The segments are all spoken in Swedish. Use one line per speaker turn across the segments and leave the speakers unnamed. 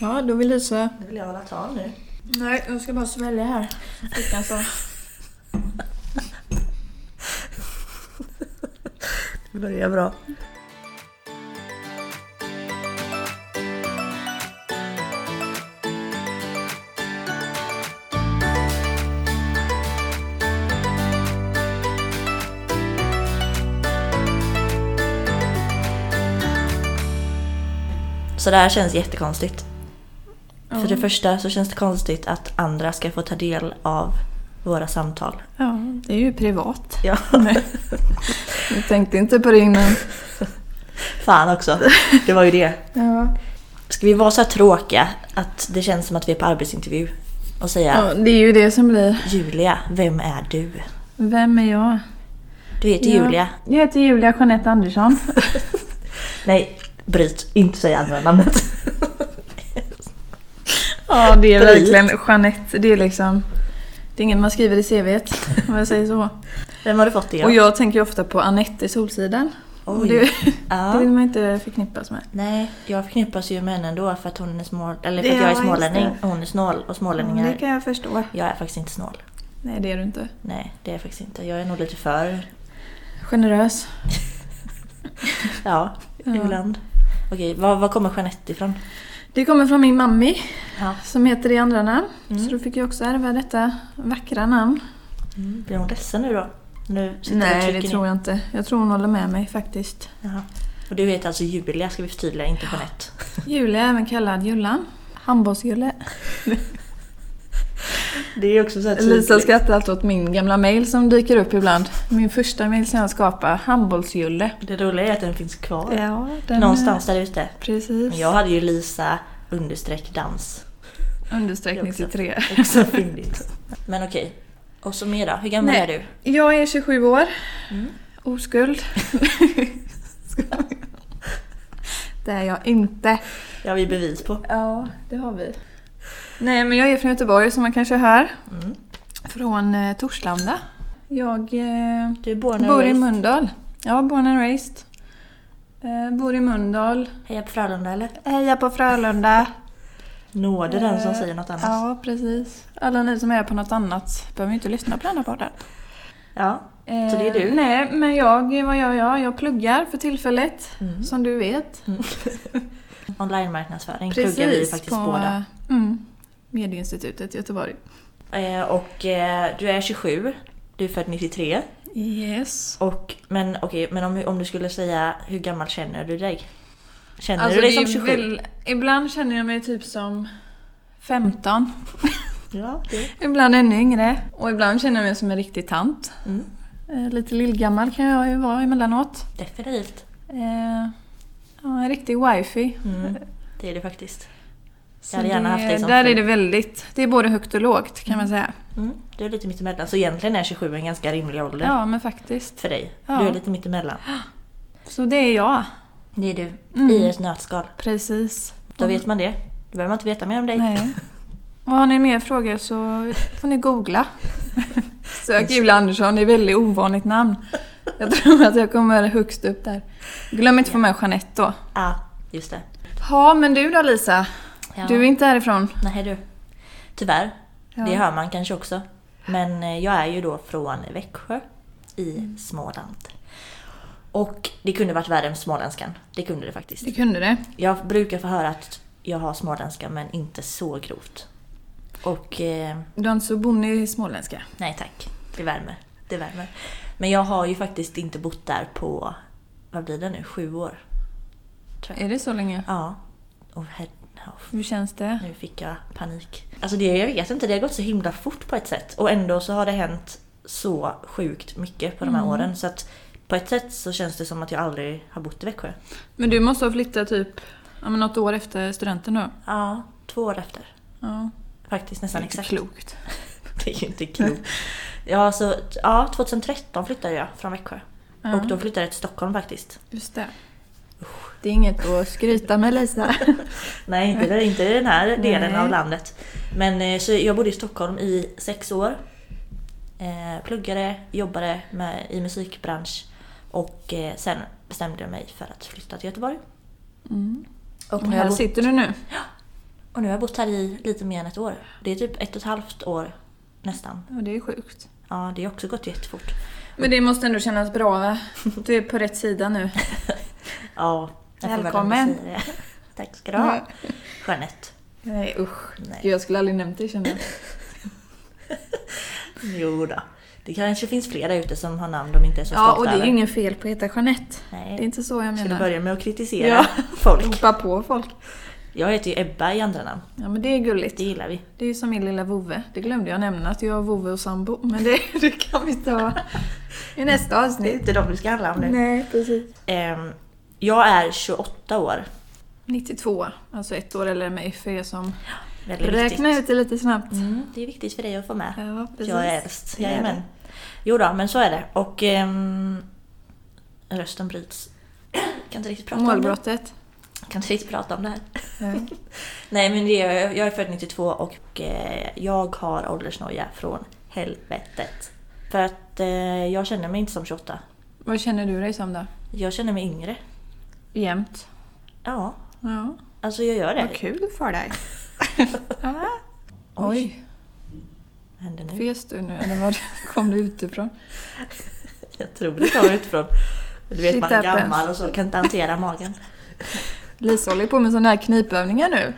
Ja, då vill Lisa...
Det vill jag hålla tal nu.
Nej, jag ska bara svälja här. Fickan så.
Det börjar bra. Så det här känns jättekonstigt. För det första så känns det konstigt att andra ska få ta del av våra samtal.
Ja, det är ju privat.
Ja,
Nej. Jag tänkte inte på det innan.
fan också. Det var ju det.
Ja.
Ska vi vara så här tråkiga att det känns som att vi är på arbetsintervju och säga
ja, det är ju det som blir.
Julia, vem är du?
Vem är jag?
Du heter
Ja.
Julia.
Jag heter Julia Jeanette Andersson.
Nej, bryt. Inte säga andra namnet.
Ja, det är
Brit.
verkligen Jeanette. Det är liksom... Det är ingen man skriver i CVt, om jag säger så.
Vem har du fått det av?
Och jag tänker ju ofta på Anette i Solsidan. Och
Oj.
det, det vill
ja.
man inte förknippas med.
Nej, jag förknippas ju med henne ändå för att hon är smål... Eller för att
Ja,
jag är
just
smålänning
det.
och hon är snål. Och
Ja,
smålänningar...
det kan jag förstå.
Jag är faktiskt inte snål.
Nej, det är du inte.
Nej, det är jag faktiskt inte. Jag är nog lite för...
Generös.
Ja,
Ja.
ibland. Okej, var, var kommer Jeanette ifrån?
Det kommer från min mammi
Ja.
som heter det i andra namn.
Mm.
Så då fick jag också ärva detta vackra namn.
Mm. Blir hon ledsen nu då? Nu sitter
Nej, det tror jag inte. Jag tror hon håller med mig faktiskt.
Jaha. Och du heter alltså Julia, ska vi förtydliga, inte Jeanette.
Julia, även kallad Jullan. Handbolls-Julle.
Det är också så här
Lisa skrattar alltid åt min gamla mail som dyker upp ibland. Min första mail som jag skapade, handbolls-Julle.
Det roliga är att den finns kvar.
Ja,
Någonstans där ute. Men
Precis.
jag hade ju Lisa understreck dans.
Understreck
Det också.
93.
Också fyndigt. Men okej. Och så mer då, hur gammal
Nej.
är du?
Jag är 27 år.
Mm.
Oskuld. det är jag inte.
Det har vi bevis på.
Ja, det har vi. Nej, men jag är från Göteborg som man kanske hör.
Mm.
Från eh, Torslanda. Jag eh,
Du är born and
bor i
raised.
Mölndal. Ja, born and raised. Eh, bor i Mölndal.
Heja på Frölunda eller?
Hejar på Frölunda.
Nåde den som
Eh,
säger något annat.
Ja, precis. Alla ni som är på något annat behöver ju inte lyssna på denna podden.
Ja. Så det är du?
Eh, nej, men jag, vad gör jag? Jag pluggar för tillfället,
Mm.
som du vet.
Online-marknadsföring pluggar vi faktiskt båda.
Mm, Medieinstitutet i Göteborg.
Eh, och eh, du är 27, du är född 93.
Yes.
Och, men okej, men om, om du skulle säga hur gammal känner du dig? Känner
Alltså,
du
det
dig som
är
27?
väl, ibland känner jag mig typ som 15.
Ja, det.
Ibland ännu yngre. Och ibland känner jag mig som en riktig tant.
Mm,
Eh, lite lillgammal kan jag ju vara emellanåt.
definitivt.
Eh, ja, en riktig wifi.
Mm, det är det faktiskt.
Så
hade gärna
det,
haft dig som
Där är
fru.
det väldigt, det är både högt och lågt kan man säga.
Mm, du är lite mittemellan, så egentligen är 27 en ganska rimlig ålder
Ja, men faktiskt.
för dig.
Ja.
Du är lite mittemellan.
Så det är jag.
Det är du,
Mm.
i ett nötskal.
Precis.
Då vet man det. Då behöver man inte veta mer om dig.
Nej. Och har ni mer frågor så får ni googla. Sök Julia Andersson, det är ett väldigt ovanligt namn. Jag tror att jag kommer högst upp där. Glöm inte att få med Jeanette då.
Ja, just det.
Ja, men du då Lisa?
Ja.
Du är inte härifrån?
Nej du. Tyvärr.
Ja.
Det hör man kanske också. Men eh, jag är ju då från Växjö i
Mm.
Småland. Och det kunde varit värre än småländskan. Det kunde det faktiskt.
Det kunde det.
Jag brukar få höra att jag har småländska men inte så grovt. Och eh,
Du har inte så bonnig småländska?
nej tack, det värmer. Det värmer. Men jag har ju faktiskt inte bott där på, vad blir det nu, sju år?
Är det så länge?
Ja. Och her- ja,
Hur känns det?
Nu fick jag panik. Alltså det, jag vet inte, det har gått så himla fort på ett sätt. Och ändå så har det hänt så sjukt mycket på de här
Mm.
åren. Så att på ett sätt så känns det som att jag aldrig har bott i Växjö.
Men du måste ha flyttat typ ja, men något år efter studenten då?
Ja, två år efter.
Ja.
Faktiskt nästan
Inte
exakt.
klokt.
Det är ju inte klokt. Ja, så, ja, 2013 flyttade jag från Växjö.
Ja.
Och då flyttade jag till Stockholm faktiskt.
Just det. Det är inget att skryta med Lisa.
Nej, inte, det- inte i den här delen
Nej.
av landet. Men eh, så jag bodde i Stockholm i sex år. Eh, Pluggade, jobbade med, i musikbransch och eh, sen bestämde jag mig för att flytta till Göteborg.
Mm.
Och
Och
nu har
här
jag bott,
sitter du nu.
Och nu har jag bott här i lite mer än ett år. Det är typ ett och ett halvt år nästan.
Ja, det är sjukt.
Ja, det har också gått jättefort.
Men det måste ändå kännas bra va? Du är på rätt sida nu.
Ja, jag får väl ändå
Välkommen. Mm.
säga det. Tack ska du ha. Jeanette.
Nej usch.
Nej.
Gud, jag skulle aldrig nämnt det känner jag.
Jo då. Det kanske finns fler där ute som har namn de inte är så
Ja, och
stolta
det är ju
över.
inget fel på att heta Jeanette. Det
Nej.
är inte så jag
Ska du
menar.
börja med att kritisera
Ja.
folk?
Ropa på folk.
Jag heter ju Ebba i andra namn.
Ja men det är gulligt.
Det gillar vi.
Det är ju som min lilla vovve. Det glömde jag nämna att jag har vovve och sambo. Men det, det kan vi ta i nästa
Det är
avsnitt.
inte de vi ska handla om nu.
Nej, precis.
Ehm, jag är 28 år.
92, alltså ett år eller med FE som
Väldigt
räknar
viktigt.
ut det lite snabbt.
Mm, det är viktigt för dig att få med.
Ja,
Att
precis.
jag är äldst.
Det är
Jajamän.
det.
Jo då, men så är det. Och ehm, rösten bryts. Kan inte riktigt prata om
Målbrottet.
det. Kan inte riktigt prata om det här.
Ja.
Nej men det är, jag är född 92 och eh, jag har åldersnoja från helvetet. För att eh, jag känner mig inte som 28.
Vad känner du dig som då?
Jag känner mig yngre.
Jämt.
Ja,
Ja,
alltså jag gör det.
vad kul för dig. Ja.
Oj.
Oj,
Vad händer nu?
fes du nu eller vad kom du utifrån?
Jag tror det kommer utifrån. Du vet
Shit
man är
happens.
gammal och så kan inte hantera magen.
Lisa håller ju på med sådana här knipövningar nu.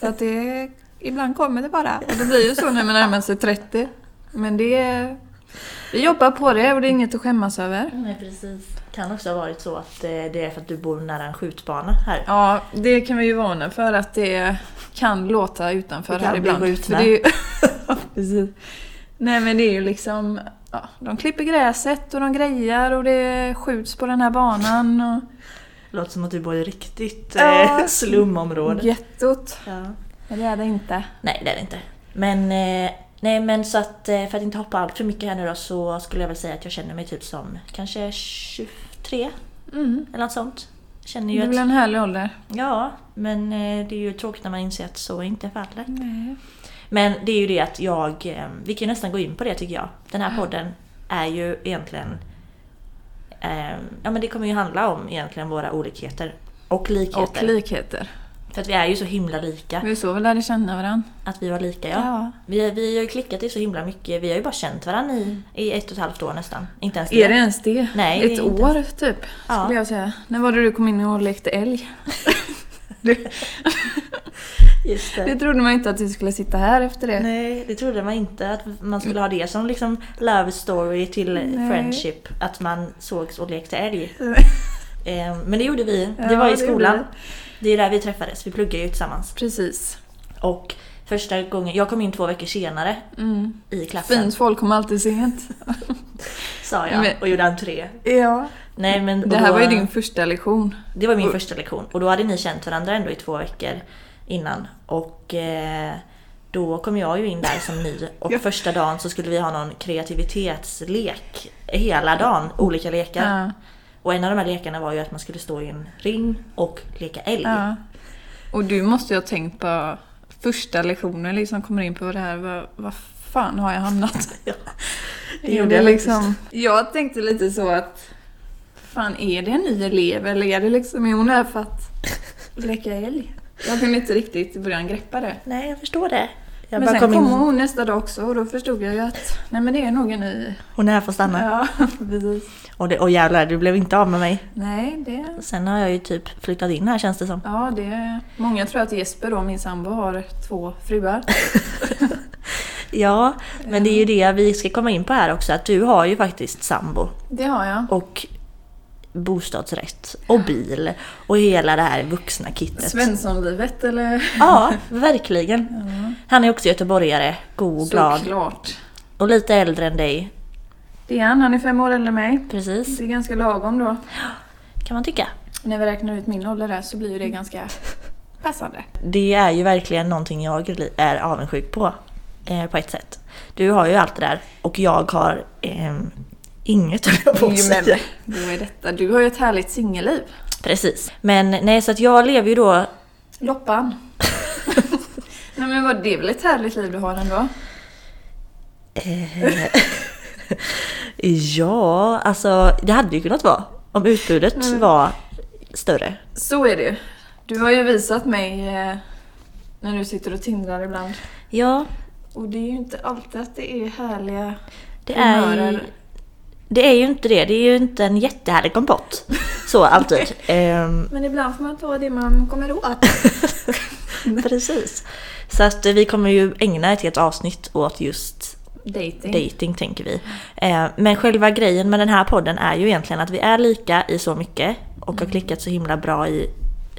Så att det, ibland kommer det bara. Och det blir ju så när man närmar sig 30. Men det... Vi jobbar på det och det är inget att skämmas över.
Nej precis. Kan också ha varit så att eh, det är för att du bor nära en skjutbana här.
Ja, det kan vi ju varna för att det kan låta utanför
Det kan
här
bli
ibland.
skjutna.
För det är ju... Precis. Nej men det är ju liksom... Ja, de klipper gräset och de grejar och det skjuts på den här banan. Och...
Låter som att du bor i riktigt
Ja.
eh, slumområde.
Gettot.
Ja.
Men det är det inte.
Nej, det är det inte. Men, eh, nej, men så att eh, för att inte hoppa allt för mycket här nu då så skulle jag väl säga att jag känner mig typ som kanske 23
Mm.
eller något sånt. Känner
Det är
ju
väl
att,
en härlig ålder?
ja, men eh, det är ju tråkigt när man inser att så inte är fallet.
Nej.
Men det är ju det att jag, eh, vi kan ju nästan gå in på det tycker jag. Den här podden är ju egentligen, eh, ja men det kommer ju handla om egentligen våra olikheter och likheter.
Och Mm. likheter.
för att vi är ju så himla lika,
Vi så vi lärde känna varandra.
att vi var lika ja. Vi, vi har ju klickat i så himla mycket. Vi har ju bara känt varandra i, i ett och ett halvt år nästan. Inte ens
Mm. Är det ens det?
Nej, det är
Ett
inte
år typ,
Ja.
skulle jag säga. När var det du kom in och lekte älg?
Just
Det trodde man inte att du skulle sitta här efter det.
Nej, det trodde man inte. Att man skulle ha det som liksom love story till
Nej.
friendship. Att man sågs och lekte älg.
Nej.
Eh, Men det gjorde vi.
Ja,
Det var i
det
skolan.
gjorde
Det är där vi träffades. Vi pluggade ju tillsammans.
Precis.
Och första gången, jag kom in två veckor senare
Mm.
i klassen.
Fint folk kommer alltid sent.
Sa jag
Men-
och gjorde entré.
Ja.
Nej, men, och
Det här
då-
var ju din första lektion.
Det var min första lektion och då hade ni känt varandra ändå i två veckor innan. Och eh, då kom jag ju in där som ny och första dagen så skulle vi ha någon kreativitetslek hela dagen, olika lekar.
Ja.
Och en av de här lekarna var ju att man skulle stå i en ring och leka älg.
Ja. Och du måste ju ha tänkt på första lektionen, liksom kommer in på det här. Vad, vad fan har jag hamnat?
Ja.
Det gjorde jag liksom. Jag tänkte lite så att fan är det en ny elev eller är det liksom, är hon här för att leka älg? Jag kunde inte riktigt i början greppa det.
Nej, jag förstår det. Jag
men
bara
sen
kom
kom
in.
hon nästa dag också och då förstod jag ju att nej men det är nog en ny.
Hon är här för att stanna.
Ja, precis.
Och, det, och jävlar, du blev inte av med mig.
Nej, det...
Sen har jag ju typ flyttat in här känns det som.
Ja, det... Många tror att Jesper då, min sambo, har två fruar.
Ja, men det är ju det vi ska komma in på här också, att du har ju faktiskt sambo.
Det har jag.
och bostadsrätt och bil och hela det här vuxna kittet.
Svenssonlivet eller?
Ja, verkligen. Han är också göteborgare, god och glad
Såklart.
och lite äldre än dig.
Det är han, han är fem år äldre än mig.
Precis,
Det är ganska lagom då.
kan man tycka.
När vi räknar ut min ålder där så blir ju det ganska passande.
Det är ju verkligen någonting jag li- är avundsjuk på, eh, på ett sätt. Du har ju allt det där och jag har ehm, inget, höll jag på att
Men
säga.
då är detta. Du har ju ett härligt singelliv.
Precis. Men nej, så att jag lever ju då...
Loppan. Nej men vad, det är väl ett härligt liv du har ändå?
Ja, alltså det hade ju kunnat vara om utbudet var större.
Så är det ju. Du har ju visat mig eh, När du sitter och tindrar ibland.
Ja,
Och det är ju inte alltid att det är härliga
det är ju...
humörer.
Det är ju inte det. Det är ju inte en jättehärlig kompott. Så alltid. Ehm,
Men ibland får man ta det man kommer åt.
precis. Så att eh, vi kommer ju ägna ett helt avsnitt åt just
Dating.
dating tänker vi. Eh, Men själva grejen med den här podden är ju egentligen att vi är lika i så mycket och
Mm.
har klickat så himla bra i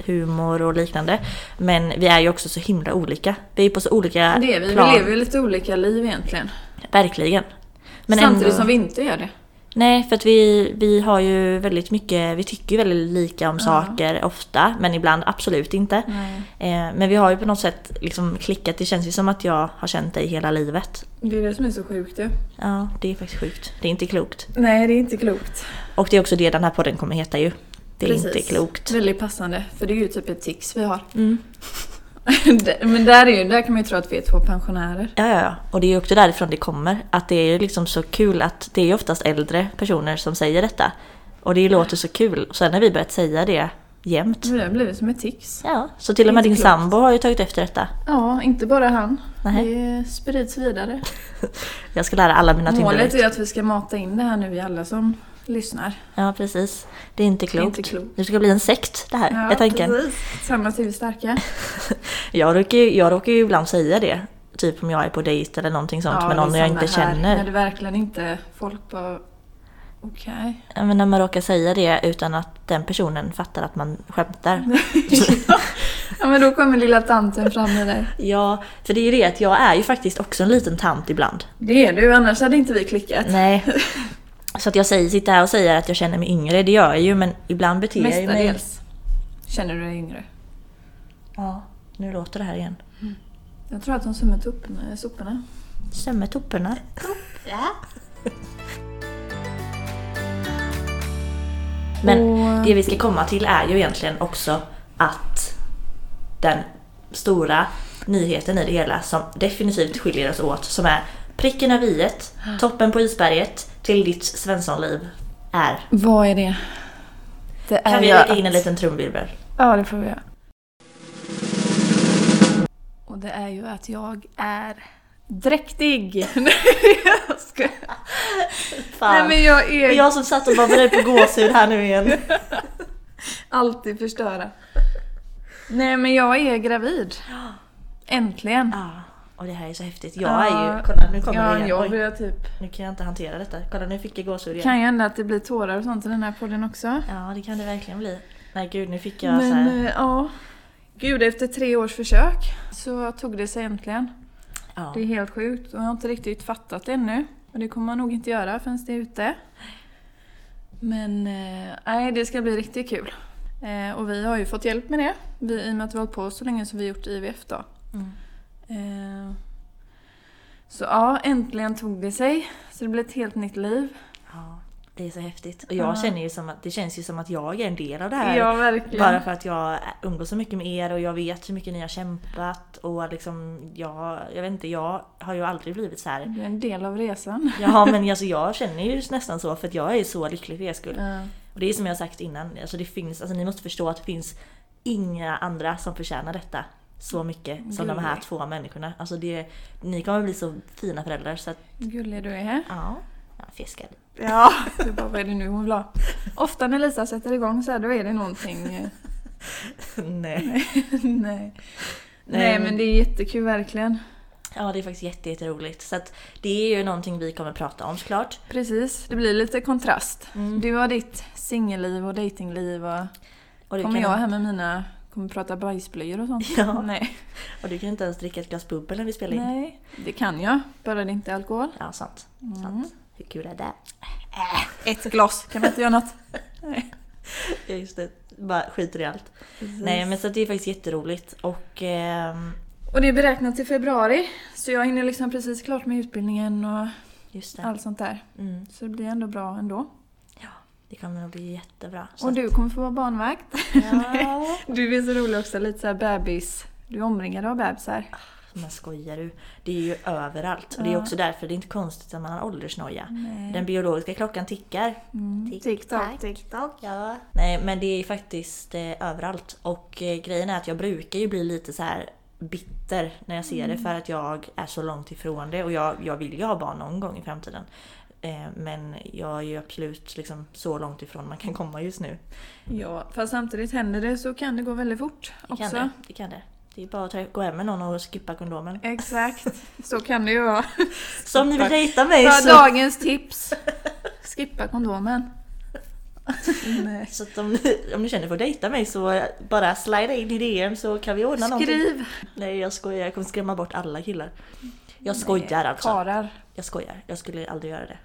humor och liknande. Men vi är ju också så himla olika. Vi är på så olika
Det är vi. Vi
plan.
lever ju lite olika liv egentligen.
Verkligen. Men
Samtidigt
ändå-
som vi inte gör det.
Nej, för att vi, vi har ju väldigt mycket, vi tycker ju väldigt lika om saker ofta, men ibland absolut inte.
Nej.
Eh, men vi har ju på något sätt liksom klickat, det känns ju som att jag har känt dig hela livet.
Det är det som är så sjukt ju.
Ja, det är faktiskt sjukt. Det är inte klokt.
Nej, det är inte klokt.
Och det är också det den här podden kommer heta ju. Det är
Precis.
inte klokt.
Väldigt passande, för det är ju typ ett tics vi har.
Mm.
Men där, är ju, där kan man ju tro att vi är två pensionärer.
Ja, ja, ja. Och det är ju också därifrån det kommer. Att det är ju liksom så kul att det är ju oftast äldre personer som säger detta. Och det låter så kul. Och sen har vi börjat säga det jämt.
Vi har blivit som ett tics.
Ja, så till och med
Mm. Inte
din
klokt.
sambo har ju tagit efter detta.
Ja, inte bara han.
Nej.
Det sprids vidare.
Jag ska lära alla mina
Målet
Tinderdates.
är att vi ska mata in det här nu i alla som lyssnar.
Ja, precis. Det är inte klokt.
inte klokt.
Det ska bli en sekt det här, jag tänker.
precis. Tillsammans är vi starka.
Jag råkar, ju, jag råkar ju ibland säga det. Typ om jag är på dejt eller någonting sånt med
det är
någon jag
samma
inte
här.
känner.
När det verkligen inte... Folk bara... Okej.
Ja, Men när man råkar säga det utan att den personen fattar att man skämtar.
Ja men då kommer lilla tanten fram med dig.
ja, för det är ju det att jag är ju faktiskt också en liten tant ibland.
Det är du, annars hade inte vi klickat.
Nej. Så att jag säger, sitter här och säger att jag känner mig yngre, det gör jag ju men ibland beter jag ju mig...
Mestadels. Känner du dig yngre?
Ja, nu låter det här igen.
Jag tror att de summit upp med soporna.
Sömmetopparna. Men
Och-
det vi ska komma till är ju egentligen också att den stora nyheten i det hela som definitivt skiljer oss åt som är pricken över iet,
Ah.
toppen på isberget till ditt svenssonliv är.
Vad är det? Det
Kan
är
vi
jag
lägga in en
att-
liten trumvirvel?
Ja, det får vi göra. Och det är ju att jag är dräktig. Nej, jag skojar. Nej,
Fan.
men jag är...
jag som satt och babblade på gåshud här nu igen.
Alltid förstöra. Nej, men jag är gravid. Äntligen.
Ja, Ah, och det här är så häftigt. Jag är
Ja,
ju... Kolla, nu kommer
Ah, ja,
det igen.
jag
Oj,
börjar typ...
nu kan jag inte hantera detta. Kolla, nu fick jag gåshud igen.
Kan ju hända att det blir tårar och sånt i den här podden också.
Ja, det kan det verkligen bli. Nej gud, nu fick jag så
Men
här...
eh, ja. Gud, efter tre års försök så tog det sig äntligen.
Ja.
Det är helt sjukt och jag har inte riktigt fattat det ännu. Och det kommer man nog inte göra förrän det är ute. Men eh, nej, det ska bli riktigt kul. Eh, och vi har ju fått hjälp med det. Vi, I och med att vi har hållit på så länge som vi gjort IVF då.
Mm.
Eh, så ja, äntligen tog det sig. Så det blev ett helt nytt liv.
Ja, det är så häftigt. Och jag känner ju som att det känns ju som att jag är en del av det här.
Ja, verkligen.
Bara för att jag umgås så mycket med er och jag vet hur mycket ni har kämpat och liksom jag, jag vet inte, jag har ju aldrig blivit så här.
Det är en del av resan.
Ja men alltså jag känner ju nästan så för att jag är så lycklig för er skull.
Ja.
Och det är som jag har sagt innan, alltså det finns, alltså ni måste förstå att det finns inga andra som förtjänar detta så mycket som de här
Gullig.
två människorna. Alltså det, ni kommer bli så fina föräldrar så att
Gullig du är.
ja, jag fiskar.
Ja. Du bara, vad är det nu hon vill ha? Ofta när Lisa sätter igång så här, då är det någonting... eh,
Nej.
Nej.
Nej,
Nej men det är jättekul verkligen.
Ja, det är faktiskt jätte- jätteroligt. Så att det är ju någonting vi kommer prata om såklart.
Precis, det blir lite kontrast.
Mm.
Du har ditt singelliv och datingliv och
Och du,
kommer
kan,
jag här med mina, kommer prata bajsblöjor och sånt.
Ja.
Nej.
och du kan inte ens dricka ett glas bubbel när vi spelar in.
Nej, det kan jag. Bara det inte är alkohol.
Ja, sant. sant. Hur kul är det?
Ett glas, Mm. kan man inte göra något.
Ja, just det. Bara skiter i allt. Nej, men så att det är faktiskt jätteroligt. Och ehm,
Och det är beräknat till februari, så jag hinner liksom precis klart med utbildningen och
just det.
allt sånt där.
Mm,
Så det blir ändå bra ändå.
det kommer nog bli jättebra. Så
Och du kommer få vara barnvakt.
att- Ja.
Du är så rolig också, lite såhär bebis... Du är omringad av bebisar.
Men skojar du? Det är ju överallt. Och det är också därför det är inte konstigt att man har åldersnoja. Den biologiska klockan tickar.
Mm. TikTok,
TikTok, ja. Nej, men det är faktiskt eh, överallt. Och eh, grejen är att jag brukar ju bli lite så här bitter när jag ser det
Mm.
för att jag är så långt ifrån det och jag, jag vill ju ha barn någon gång i framtiden. Eh, Men jag är ju absolut liksom så långt ifrån man kan komma just nu.
Ja, fast samtidigt händer det så kan det gå väldigt fort
Det
också.
kan det. Det, kan det. det är bara att ta- gå hem med någon och skippa kondomen.
Exakt, så kan det ju vara.
Så om ni vill dejta mig
Ta
så...
dagens tips. Skippa kondomen. Nej.
Så att om, ni, om ni känner för att dejta mig så bara slida in i DM så kan vi ordna någonting.
Skriv.
Nej jag skojar, jag kommer skrämma bort alla killar. Jag skojar alltså.
Karar.
Jag skojar, jag skulle aldrig göra det.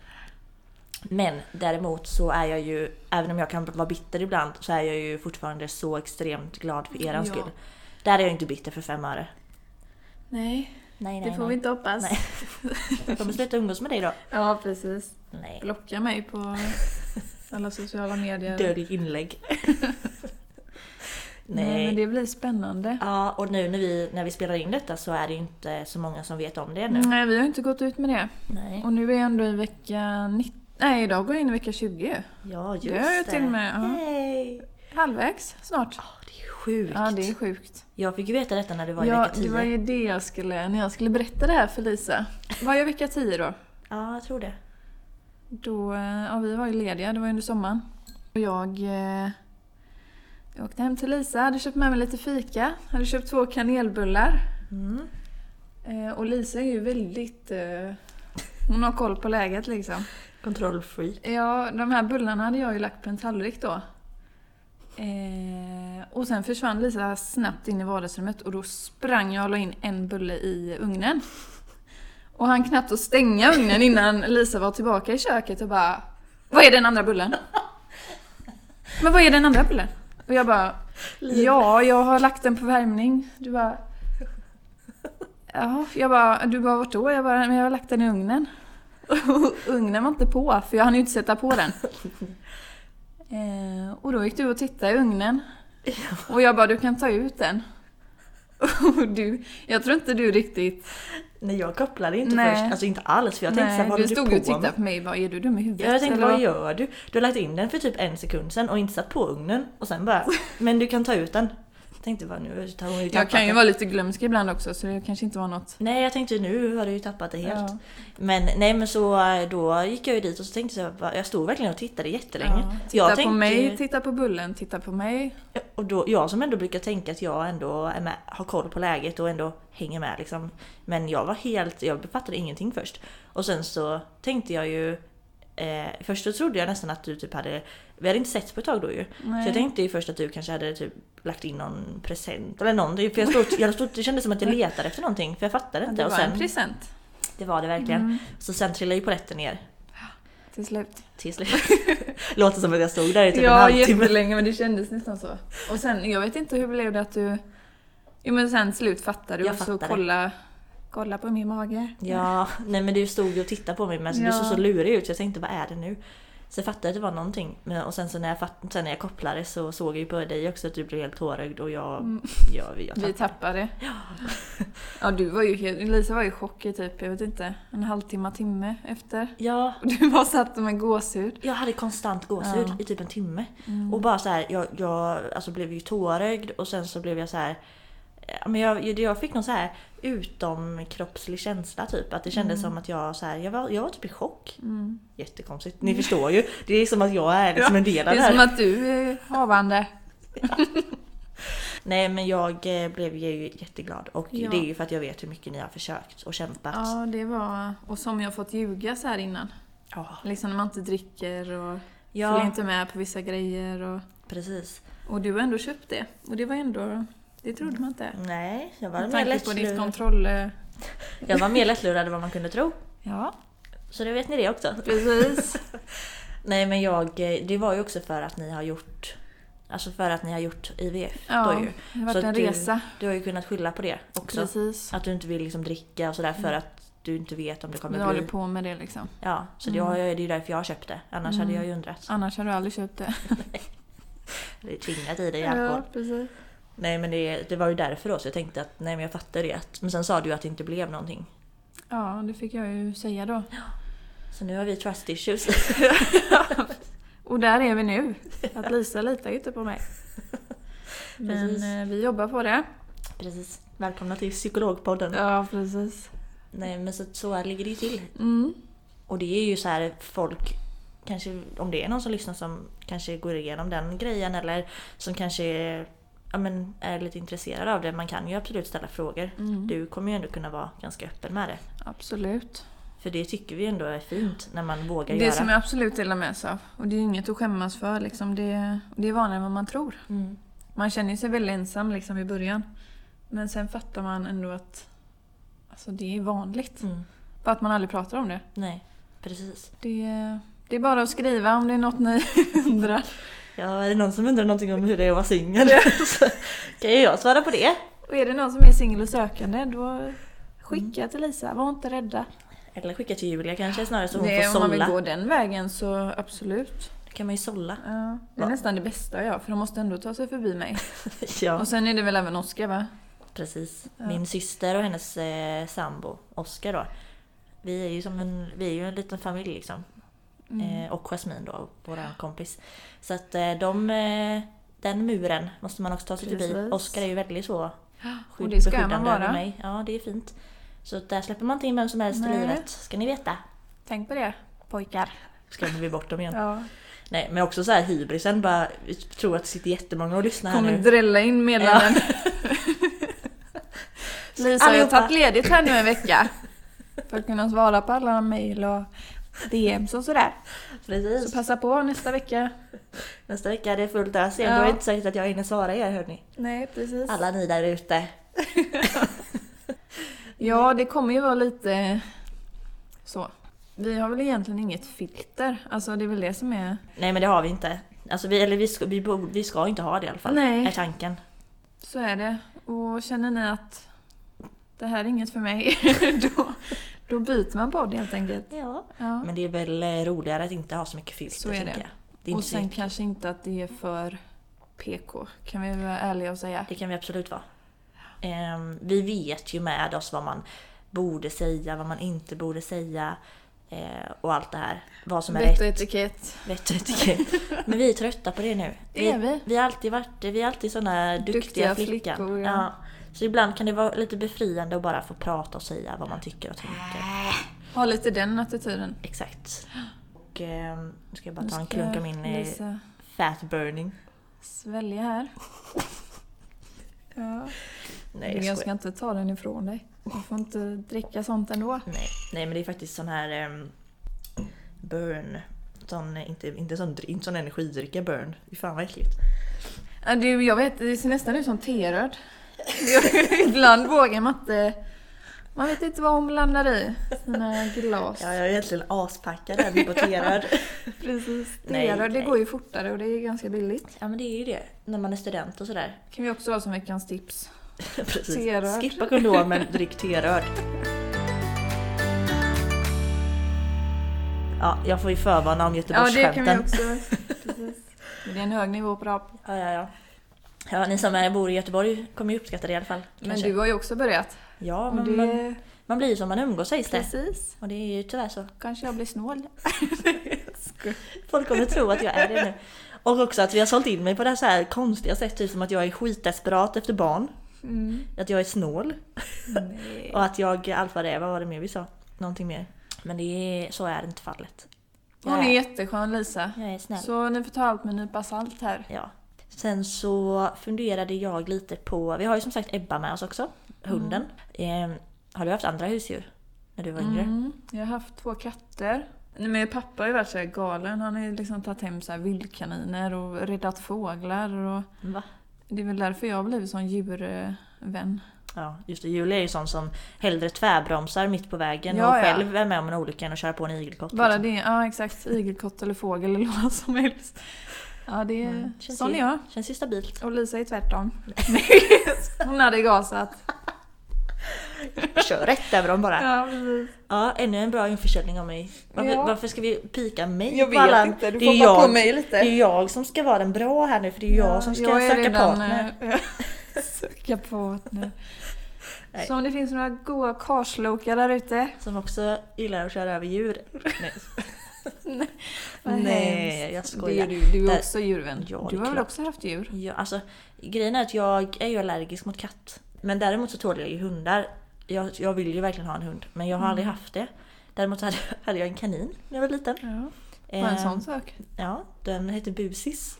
Men däremot så är jag ju, även om jag kan vara bitter ibland, så är jag ju fortfarande så extremt glad för er
Ja.
skull. Där är jag inte bitter för fem öre.
Nej,
Nej, nej,
det får vi
nej.
inte hoppas.
Nej. Jag kommer sluta umgås med dig då.
Ja, precis.
Nej.
Blocka mig på alla sociala medier.
Dölj inlägg.
Nej,
nej.
men det blir spännande.
Ja, och nu när vi, när vi spelar in detta så är det ju inte så många som vet om det ännu.
Nej, vi har inte gått ut med det.
Nej.
Och nu är jag ändå i vecka 19. Nej, idag går jag in i vecka 20.
Ja, just
det har jag till och med. Ja.
Hej!
Halvvägs snart.
Ja, det är sjukt.
Ja, det är sjukt.
Jag fick ju veta detta när det var i
Ja,
vecka 10.
det var ju det jag skulle, när jag skulle berätta det här för Lisa. Var jag vecka 10 då?
Ja, jag tror det.
Då, eh, ja vi var ju lediga, det var ju under sommaren. Och jag, eh, jag åkte hem till Lisa, hade köpt med mig lite fika, hade köpt två kanelbullar.
Mm.
Eh, och Lisa är ju väldigt, eh, hon har koll på läget liksom.
Kontrollfreak.
Ja, de här bullarna hade jag ju lagt på en tallrik då. Eh, och sen försvann Lisa snabbt in i vardagsrummet och då sprang jag och la in en bulle i ugnen. Och han knappt att stänga ugnen innan Lisa var tillbaka i köket och bara Vad är den andra bullen? Men vad är den andra bullen? Och jag bara Ja, jag har lagt den på värmning. Du bara Ja, jag bara, du bara vart då? Jag bara, men jag har lagt den i ugnen. Och ugnen var inte på, för jag hann ju inte sätta på den. Eh, och då gick du och tittade i ugnen. Och jag bara, du kan ta ut den. Och du, jag tror inte du riktigt...
Nej, jag kopplade inte
Nej.
först. Alltså inte alls. För jag tänkte såhär,
Nej,
vad
du
håller du
stod
på
ju och tittade
med?
på mig bara, är du dum i huvudet?
Ja, jag tänkte,
Eller
vad gör du? Du har lagt in den för typ en sekund sen och inte satt på ugnen. Och sen bara, men du kan ta ut den. Jag tänkte bara, nu tar hon ju
jag
tappat
kan ju
det.
vara lite glömsk ibland också, så det kanske inte var något...
Nej, jag tänkte nu har du ju tappat det helt.
Ja.
Men nej, men så eh, då gick jag ju dit och så tänkte jag, va- jag stod verkligen och tittade jättelänge.
Ja, titta
jag
på
tänkte-
mig, titta på bullen, titta på mig.
Och då, jag som ändå brukar tänka att jag ändå är med, har koll på läget och ändå hänger med liksom. Men jag var helt, jag fattade ingenting först. Och sen så tänkte jag ju eh, Först så trodde jag nästan att du typ hade, vi hade inte sett på ett tag då ju.
Nej.
Så jag tänkte ju först att du kanske hade typ lagt in någon present eller någonting. För jag stod, jag stod, det kändes som att jag letade efter någonting för jag fattade
Ja,
inte.
det
och
var en Mm.
sen,
present
det var det verkligen. Så sen trillade ju polletten ner
till slut.
till slut. Låter som att jag stod där i typ en
Ja,
halvtimme.
jättelänge men det kändes nästan så. Och sen, jag vet inte hur blev det att du... Jo men sen till slut fattade du
Jag
och så
fattade.
kolla, kolla på min mage.
Ja, nej men du stod ju och tittade på mig men du
Ja.
såg så lurig ut så jag tänkte vad är det nu? Så jag fattade att det var någonting. Men, och sen så när jag, fatt, sen när jag kopplade så såg jag ju på dig också att du blev helt tårögd och jag... jag, jag
Mm. Vi tappade. Ja. ja du var ju helt, Lisa var ju i chock i typ, jag vet inte, en halvtimme, timme efter.
ja,
Och Du bara satt med gåshud.
jag hade konstant gåshud
Ja. Mm.
i typ en timme. Och bara så här, jag, jag alltså blev ju tårögd och sen så blev jag så här... ja, Men jag, jag fick någon så här utomkroppslig känsla typ. Att det kändes
Mm.
som att jag så här, jag var, jag var typ i chock. Jättekonstigt. Ni förstår ju. Det är som att jag är liksom en del
Det
av det här.
är som att du är havande.
Nej men jag eh, blev ju jätteglad och
Ja.
det är ju för att jag vet hur mycket ni har försökt och kämpat.
Ja det var, och som jag fått ljuga så här innan.
Ja,
Liksom när man inte dricker och
Ja.
följer inte med på vissa grejer. Och,
precis.
och du har ändå köpt det. Och det var ändå, det trodde man inte.
Nej, jag var,
Med
mer
tanke på ditt
lättlurad.
kontroll... eh,
jag var mer lättlurad än vad man kunde tro.
Ja,
Så det vet ni det också.
precis.
Nej men jag, eh, det var ju också för att ni har gjort Alltså för att ni har gjort IVF.
Ja,
då ju.
det har varit
Så att
en
du,
resa.
Du har ju kunnat skylla på det också.
Precis.
Att du inte vill liksom dricka och sådär för att du inte vet om det
Vi
kommer
håller
bli.
på med det liksom.
Ja, så det, har jag, det är ju därför jag köpte. Annars
Mm.
hade jag ju undrat.
Annars hade du aldrig köpt det.
Det är tvingat i dig alkohol.
precis.
Nej men det, det var ju därför då så jag tänkte att nej men jag fattar det. Men sen sa du ju att det inte blev någonting.
Ja, det fick jag ju säga då.
Så nu har vi trust issues.
Och där är vi nu. Att Lisa litar ju inte på mig. Men
Precis.
eh, vi jobbar på det.
Precis. Välkomna till psykologpodden.
Ja, precis.
Nej men så, så ligger det ju till.
Mm.
Och det är ju så här folk, kanske om det är någon som lyssnar som kanske går igenom den grejen eller som kanske är, ja, men är lite intresserad av det. Man kan ju absolut ställa frågor.
Mm.
Du kommer ju ändå kunna vara ganska öppen med det.
Absolut.
För det tycker vi ändå är fint när man vågar
Det
göra.
som jag absolut delar med sig av. Och det är ju inget att skämmas för. Liksom. Det, det är vanligare än vad man tror.
Mm.
Man känner ju sig väldigt ensam liksom, i början. Men sen fattar man ändå att alltså, det är vanligt.
Mm.
Bara att man aldrig pratar om det.
Nej, precis.
det. Det är bara att skriva om det är något ni undrar.
Ja, är det någon som undrar någonting om hur det är att vara singel så kan ju jag svara på det.
Och är det någon som är singel och sökande, då skicka
Mm.
till Lisa. Var inte rädda.
Eller skicka till Julia kanske snarare så Alltså, hon
Det-
får
om man vill
sålla.
gå den vägen så absolut.
Då kan man ju sålla.
Ja, det är
Va?
nästan det bästa jag för de måste ändå ta sig förbi mig.
ja.
Och sen är det väl även Oskar va?
Precis. Min syster och hennes eh, sambo Oskar då. Vi är ju som en, vi är ju en liten familj liksom.
Mm.
Eh, och Jasmine då, vår kompis. Så att eh, de, eh, den muren måste man också ta sig förbi.
Precis.
Oskar är ju väldigt så
Och det ska man
beskyddande över
vara.
mig. Ja, det är fint. Så att där släpper man inte in vem som helst i
Nej.
livet, ska ni veta.
Tänk på det pojkar.
Skrämmer vi bort dem igen.
Ja.
Nej, men också så här hybrisen bara, vi tror att det sitter jättemånga och lyssnar här
Kommer
nu.
drälla in meddelanden. Lisa har ju
Allihopa.
tagit ledigt här nu en vecka. För att kunna svara på alla mejl och DMs och sådär. Så
Precis.
passa på nästa vecka.
Nästa vecka är det fullt ös igen,
Ja.
då är det inte säkert att jag hinner svara er hörni.
Nej precis.
Alla ni där ute.
Ja, det kommer ju vara lite så. Vi har väl egentligen inget filter. Alltså det är väl det som är...
Nej men det har vi inte. Alltså vi, eller vi ska, vi, borde- vi ska inte ha det i alla fall.
Nej.
Är tanken.
Så är det. Och känner ni att det här är inget för mig, då, då byter man podd helt enkelt.
Ja.
Ja.
Men det är väl eh, roligare att inte ha så mycket filter
Så är det.
tänker jag. Det, är
Och
inte
sen
sen...
kanske inte att det är för PK, kan vi vara ärliga och säga.
det kan vi absolut vara. Ehm, vi vet ju med oss vad man borde säga, vad man inte borde säga. eh, och allt det här. Vad som är
Vett och
rätt,
etikett.
vett och etikett. Men vi är trötta på det nu.
Det är vi.
Vi har alltid varit vi är alltid såna duktiga,
Duktiga
flickan.
flickor, ja.
ja. Så ibland kan det vara lite befriande att bara få prata och säga vad man tycker och tänker.
Ha lite den attityden.
Exakt. Och eh, nu ska jag bara
Nu
ta en
ska
klunk av min eh,
Lisa
fat burning.
svälja här. Ja.
Nej,
Du,
jag
jag
skojar.
ska inte ta den ifrån dig. Du får inte dricka sånt ändå.
Nej. Nej, men det är faktiskt sån här ehm, burn. Sån, eh, inte, inte, sån, dr- inte sån energidricka burn. Fy fan vad äckligt.
Ja, Du, jag vet, det ser nästan ut som teröd. Ibland vågar man inte... Man vet inte vad hon blandar i sina glas.
Ja, jag är egentligen aspackad här, hypoterad.
Precis.
Nej,
Teröd, det
nej.
går ju fortare och det är ganska billigt.
ja, men det är ju det. När man är student och sådär.
kan vi också ha som veckans tips.
Precis.
Teröd.
Skippa kondomen, drick teröd. Ja, jag får ju förvarna om
Ja, det kan
Göteborgsskämten.
vi också. Precis. Men Det är en hög nivå på rap.
Ja, ja, ja. ja, ni som är, bor i Göteborg kommer ju uppskatta det i alla fall.
Men
kanske.
du har ju också börjat.
Ja,
Och
men man,
det...
man blir ju som man umgås sägs det.
Precis.
Och det är ju tyvärr så.
Kanske jag blir snål.
Folk kommer tro att jag är det nu. Och också att vi har sålt in mig på det här, så här konstiga sätt, typ som att jag är skitdesperat efter barn.
Mm.
Att jag är snål.
Nej.
Och att jag, allt vad det är, vad var det mer vi sa? Någonting mer. Men det är, så är inte fallet.
Hon är jätteskön Lisa.
jag är snäll.
Så ni får ta allt med en nypa salt här.
Ja. Sen så funderade jag lite på, vi har ju som sagt Ebba med oss också, hunden. Eh, har du haft andra husdjur? När du var yngre?
Mm. Jag har haft två katter. Nej, men pappa har ju varit så här galen. Han har ju liksom tagit hem så här vildkaniner och räddat fåglar. Och
Mm, Va?
det är väl därför jag har blivit sån djurvän.
Ja, just det. Julia är ju sån som hellre tvärbromsar mitt på vägen
Ja,
och
ja.
själv är med om en olycka än att köra på en igelkott.
Bara
liksom.
det, ja exakt. Igelkott eller fågel eller vad som helst. Ja, det är...
Mm, känns
Sån
ju-
är jag.
Känns ju stabilt.
Och Lisa är tvärtom. Hon hade gasat.
Kör rätt över dem bara.
Ja, precis.
Ja, ännu en bra införsäljning av mig. Varför,
Ja.
varför ska vi pika mig?
Jag
på
vet
alla-
inte, du
det
får
är
bara på
jag-
mig lite.
Det är jag som ska vara den bra här nu för det är jag som ska
är
söka
redan,
partner.
eh, söka partner.
Nej.
Så om det finns några goa karslokar där ute.
Som också gillar att köra över djur. Nej,
vad
Nej,
hemskt.
jag
Det
skojar.
är du, du är
Där-
också djurvän.
Ja, det
du
är
har väl
klart.
också haft djur?
Ja, alltså, grejen är att jag är ju allergisk mot katt. Men däremot så tål jag ju hundar. Jag, jag vill ju verkligen ha en hund, men jag har
Mm.
aldrig haft det. Däremot så hade, hade jag en kanin när jag var liten.
Ja. Bara en
Eh,
sån sak.
Ja, den hette Busis.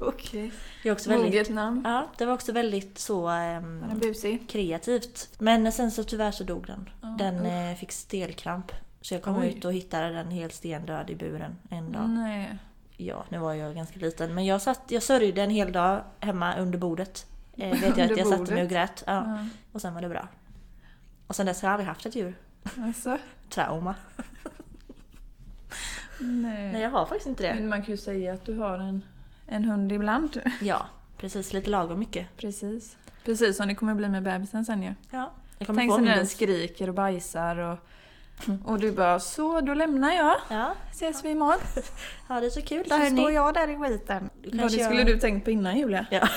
Okej.
Jag är också väldigt,
Moget namn.
ja, det var också väldigt så ehm,
Den är busig.
kreativt. Men sen så tyvärr så dog den.
Ja,
Den eh, fick stelkramp. Så jag kom
Oj.
ut och hittade den helt stendöd i buren en dag.
Nej.
Ja, nu var jag ganska liten. Men jag, satt, jag sörjde en hel dag hemma under bordet. Eh, vet jag att
Under
jag satte mig
bordet?
och grät. Ja.
Ja.
Och sen var det bra. Och sen dess har jag aldrig haft ett djur.
Alltså,
Trauma.
nej.
Nej, jag har faktiskt inte det.
Men man kan ju säga att du har en, en hund ibland.
Ja, precis. Lite lagom mycket.
Precis. Precis som det kommer bli med bebisen sen ju.
Ja. Jag
Tänk
få
sen
min
när den
dos.
skriker och bajsar och, och du bara så, då lämnar jag.
Ja,
Ses vi imorgon.
ha det så kul så hörni.
jag där i skiten. Vad
Kanske
det
jag-
skulle du tänkt på innan Julia.
Ja.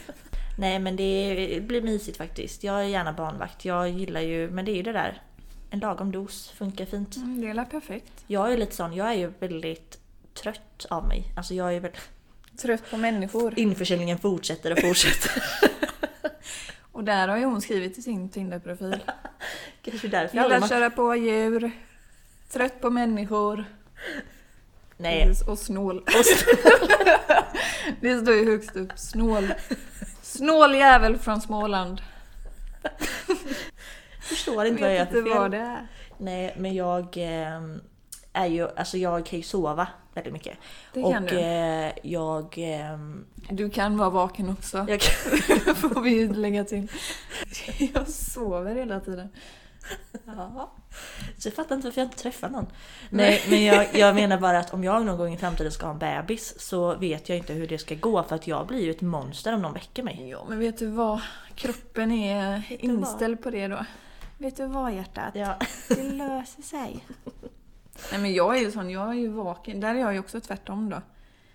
Nej men det blir mysigt faktiskt. Jag är gärna barnvakt. Jag gillar ju, men det är ju det där. En lagom dos funkar fint.
Mm, Det är väl perfekt.
Jag är lite sån, jag är ju väldigt trött av mig. Alltså jag är väl...
Trött på människor.
Införsäljningen fortsätter och fortsätter.
Och där har ju hon skrivit i sin Tinder-profil.
Kanske därför jag
Gillar
aldrig...
att köra på djur. Trött på människor.
Nej.
Precis, Och snål. Det står ju högst upp. Snål. Snål jävel från Småland.
Jag förstår inte vad jag gör
vet inte
för fel.
vad det är.
Nej men jag ehm, är ju, alltså jag kan ju sova väldigt mycket.
Det
och
kan du.
eh, jag... ehm,
Du kan vara vaken också.
jag kan...
får vi ju lägga till. Jag sover hela tiden.
Så jag fattar inte varför jag inte träffar någon. Nej men jag, jag menar bara att om jag någon gång i framtiden ska ha en bebis så vet jag inte hur det ska gå för att jag blir ju ett monster om någon väcker mig.
Ja, men vet du vad? Kroppen är
du vad?
inställd på det då. Vet du vad hjärtat?
Ja.
Det löser sig. Nej men jag är ju sån, jag är ju vaken. Där är jag ju också tvärtom då.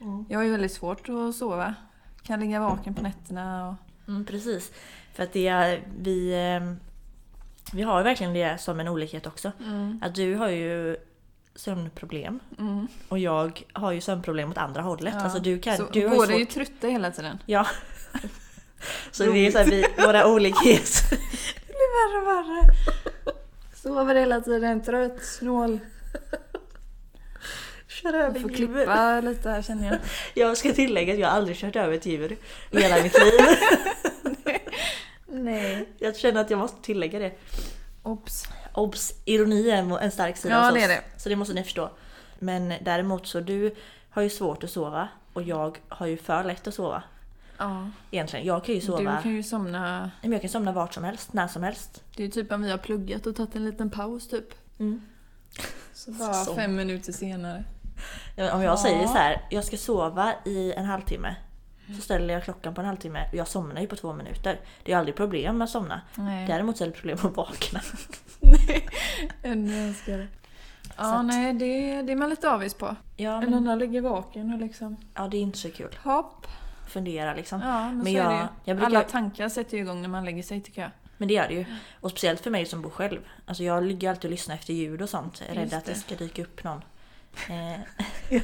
Mm.
Jag har ju väldigt svårt att sova. Kan ligga vaken på nätterna och...
Mm, precis. För att det är, vi, eh, vi har ju verkligen det som en olikhet också. Att du har ju sömnproblem
Mm.
och jag har ju sömnproblem åt andra hållet.
Ja.
Alltså du kan,
Så
du har ju
båda
svårt...
är ju trötta hela tiden.
Ja. Så det är så här, vi, våra olikheter.
Det blir värre och värre. Sover hela tiden, trött, snål.
Kör över
Jag får
djur.
klippa lite här känner jag.
Jag ska tillägga att jag aldrig kört över ett djur i hela mitt liv.
Nej.
Jag känner att jag måste tillägga det.
Ops.
Obs! Ironi är en- en stark sida
Ja,
hos
det är
oss, Så det måste ni förstå. Men däremot så du har ju svårt att sova och jag har ju för lätt att sova.
Ja.
Egentligen. Jag kan ju sova...
Du kan ju somna.
Nej, men Jag kan somna vart som helst, när som helst.
Det är ju typ om vi har pluggat och tagit en liten paus typ.
Mm.
Så bara
Som.
fem minuter senare.
Ja, men Om jag säger så här, jag ska sova i en halvtimme. Så ställer jag klockan på en halvtimme och jag somnar ju på två minuter. Det är ju aldrig problem med att somna.
Nej.
Däremot så är det problem att vakna.
Ännu önskare. Ja,
Så att-
nej det, det är man lite avis på.
Ja,
En
men,
annan ligger vaken och liksom
ja, det är inte så kul.
hopp.
Fundera liksom.
Ja, men,
Men
så
jag-
är det ju.
jag brukar-
Alla tankar sätter ju igång när man lägger sig tycker jag.
Men det gör det ju. Och speciellt för mig som bor själv. Alltså jag ligger alltid och lyssnar efter ljud och sånt. Jag är
Just
rädd att
det.
det ska dyka upp någon. Eh,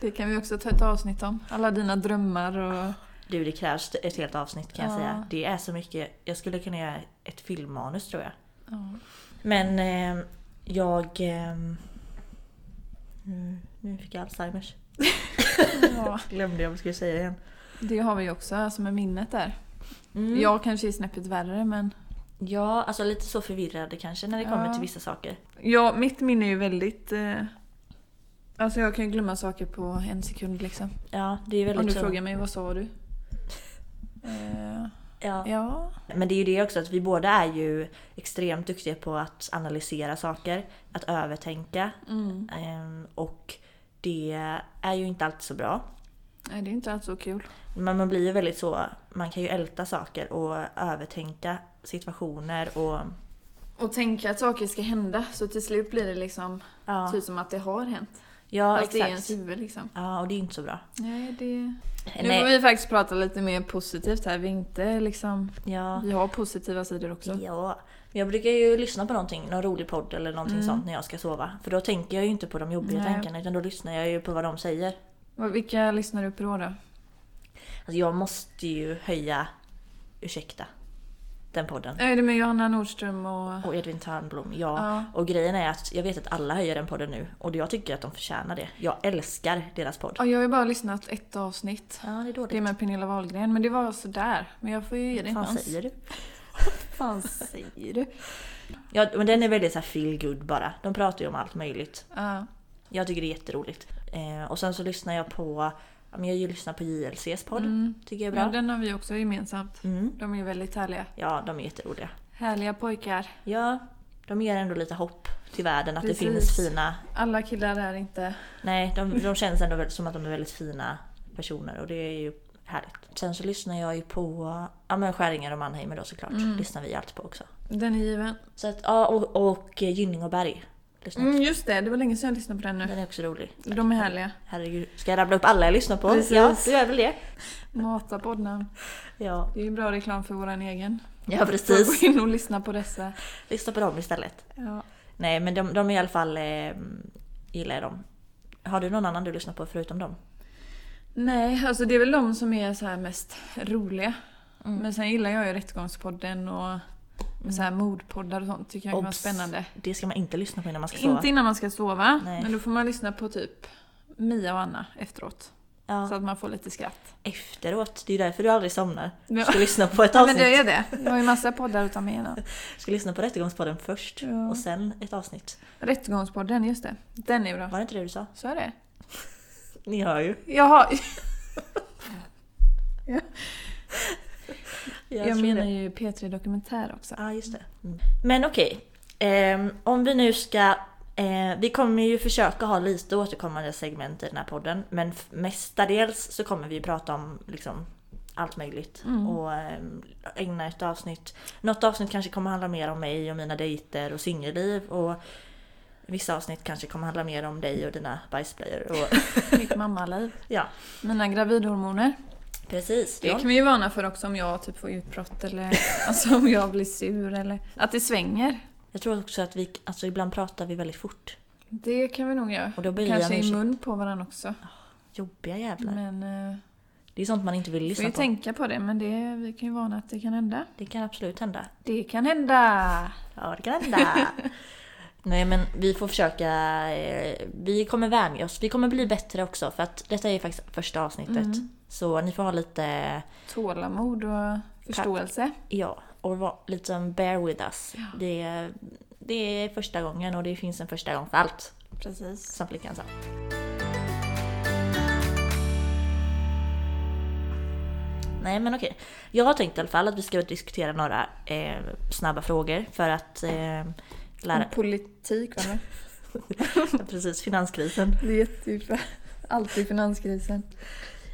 Det kan vi också ta ett avsnitt om. Alla dina drömmar och...
du, det krävs ett helt avsnitt kan jag
Ja.
säga. Det är så mycket. Jag skulle kunna göra ett filmmanus tror jag.
Ja.
Men eh, jag... ehm, nu, nu fick jag Alzheimers.
Ja,
Glömde jag vad jag skulle säga igen.
det har vi ju också, alltså med minnet där.
Mm. Ja.
Jag kanske är snäppet värre men...
ja, alltså lite så förvirrade kanske när det kommer
Ja.
till vissa saker.
Ja, mitt minne är ju väldigt... Eh... Alltså jag kan ju glömma saker på en sekund liksom.
Ja, det är väldigt
Om du
så.
frågar mig vad sa du? Eh,
Ja.
ja.
Men det är ju det också att vi båda är ju extremt duktiga på att analysera saker, att övertänka
Mm.
ehm, och det är ju inte alltid så bra.
Nej, det är inte alls så kul.
Men man blir ju väldigt så, man kan ju älta saker och övertänka situationer och
Och tänka att saker ska hända så till slut blir det liksom
ja,
typ som att det har hänt.
ja
Fast det är ens
exakt.
huvud liksom.
Ja, och det är inte så bra.
Nej, det... Nu får
Nej.
vi faktiskt prata lite mer positivt här. Vi är inte liksom...
Ja.
Vi har positiva sidor också.
Ja, men jag brukar ju lyssna på någonting, någon rolig podd eller någonting sånt när jag ska sova. För då tänker jag ju inte på de jobbiga
Mm. Nej.
tankarna utan då lyssnar jag ju på vad de säger.
Vad- Vilka lyssnar du på då?
Alltså jag måste ju höja ursäkta. den podden.
Är det med Johanna Nordström och...
Och Edvin Törnblom, ja.
Ja.
Och grejen är att jag vet att alla höjer den podden nu och jag tycker att de förtjänar det. Jag älskar deras podd.
Ja, jag har ju bara lyssnat ett avsnitt.
Ja, det är dåligt.
Det är med Pernilla Wahlgren, men det var sådär. Men jag får ju ge det en
Vad fan
chans.
säger du?
fan säger du?
Ja, men den är väldigt så här feel good bara. De pratar ju om allt möjligt.
Ja.
Jag tycker det är jätteroligt. Eh, och sen så lyssnar jag på, ja, men jag ju lyssnar på JLCs podd. Tycker jag är
Mm. Ja,
bra.
den har vi också gemensamt.
Mm.
De är ju väldigt härliga.
Ja, de är jätteroliga.
Härliga pojkar.
Ja, de ger ändå lite hopp till världen att det
Precis.
finns fina...
Alla killar är inte...
Nej, de, de känns ändå väl- som att de är väldigt fina personer och det är ju härligt. Sen så lyssnar jag ju på ja, men Skäringer och Mannheimer då såklart.
Mm.
Lyssnar vi allt på också.
Den är given.
Så att, ja, och, och Gynning och Berg. Lyssnar
Mm, just det, det var länge sedan jag lyssnade på den nu.
Den är också rolig.
De är härliga.
Herregud, ska jag rabbla upp alla jag lyssnar på?
Precis.
Ja, du gör väl det.
Mata poddnamn.
Ja,
Det är ju bra reklam för våran egen.
ja
Så
precis.
gå in och lyssna på dessa.
Lyssna på dem istället.
Ja.
Nej, men de, de är i alla fall... Eh, gillar jag dem. Har du någon annan du lyssnar på förutom dem?
Nej, alltså det är väl de som är så här mest roliga.
Mm.
Men sen gillar jag ju Rättegångspodden och så här mordpoddar och sånt. Tycker jag kan vara
Obs!
spännande.
Det ska man inte lyssna på innan man ska sova.
Inte innan man ska sova,
Nej.
men då får man lyssna på typ Mia och Anna efteråt.
Ja.
Så att man får lite skratt.
Efteråt, det är ju därför du aldrig somnar. Du
Ja.
ska lyssna på ett
Ja, men
avsnitt.
det är det. Jag har ju massa poddar att ta med då.
Du ska lyssna på Rättegångspodden först
Ja.
och sen ett avsnitt.
Rättegångspodden, just det. Den är bra.
Var det inte det du sa?
Så är det.
Ni hör ju.
Jaha,
Jag,
jag, menar
ju...
ju P3 Dokumentär också.
Ja, just det. Mm. Men okej. Ehm, om vi nu ska... eh, vi kommer ju försöka ha lite återkommande segment i den här podden. Men f- mestadels så kommer vi ju prata om liksom, allt möjligt.
Mm.
Och ehm, ägna ett avsnitt... Något avsnitt kanske kommer handla mer om mig och mina dejter och singelliv. Och vissa avsnitt kanske kommer handla mer om dig och dina bajsblöjor. Och...
Mitt mammaliv.
ja,
Mina gravidhormoner.
precis.
Det
Ja.
kan vi ju varna för också om jag typ får utbrott eller alltså om jag blir sur eller att det svänger.
Jag tror också att vi... Alltså ibland pratar vi väldigt fort.
Det kan vi nog göra.
Och då blir jag
Kanske i
ursäkt.
mun på varandra också.
Jobbiga jävlar.
Men eh,
Det är sånt man inte vill
får
lyssna
ju
på.
tänka på det. Men det, vi kan ju varna att det kan hända.
Det kan absolut hända.
Det kan hända!
Ja, det kan hända. Nej, men vi får försöka. eh, Vi kommer vänja oss. Vi kommer bli bättre också för att detta är faktiskt första avsnittet. Så ni får ha lite,
Tålamod och förståelse.
ja, och va, lite bear with us. Det, är- det är första gången och det finns en första gång för allt,
Precis.
som flickan sa. Nej men okej. Jag har tänkt i alla fall att vi ska diskutera några eh, snabba frågor för att eh, lära...
Och politik var det.
Precis, finanskrisen.
Det är jättedjupa. Alltid finanskrisen.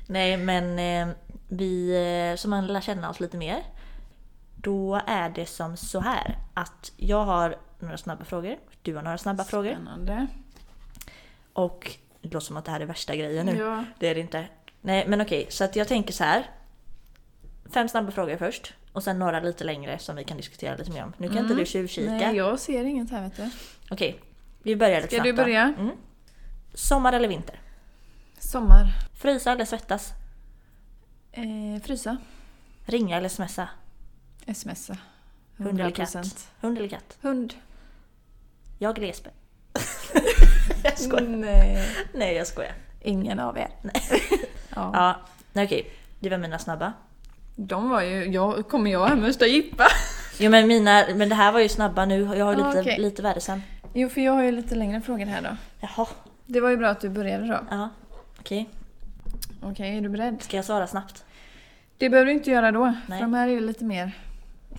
Nej, men eh, vi eh, som man lär känna oss lite mer. Då är det som så här att jag har några snabba frågor. Du har några snabba frågor.
Spännande.
Och det låter som att det här är värsta grejen nu.
Ja.
Det är det inte. Nej, men okej, så att jag tänker så här. Fem snabba frågor först och sen några lite längre som vi kan diskutera lite mer om. Nu kan inte du tjuvkika.
Mm. Nej, jag ser inget här vet du.
Okej, vi börjar lite
Ska
snabbt
du
då.
börja?
Mm. Sommar eller vinter?
Sommar.
Frysa eller svettas?
Eh, frysa.
Ringa eller smsa?
Smsa.
Hund eller
100%.
katt? Hund eller katt?
Hund.
Jag eller Jesper? jag
Mm.
skojar.
Nej.
Nej, jag skojar.
Ingen av er. Nej. Ja.
Ja, nej, okej. Det var mina snabba.
De var ju... Jag, kommer jag hem och jippa?
Jo men mina, men det här var ju snabba nu. Jag har
Ja,
lite,
okej.
lite värre sen.
Jo, för jag har ju lite längre frågor här då.
Jaha.
Det var ju bra att du började då.
Ja, okej.
Okej, är du beredd?
Ska jag svara snabbt?
Det behöver du inte göra då.
Nej.
För de här är ju lite mer...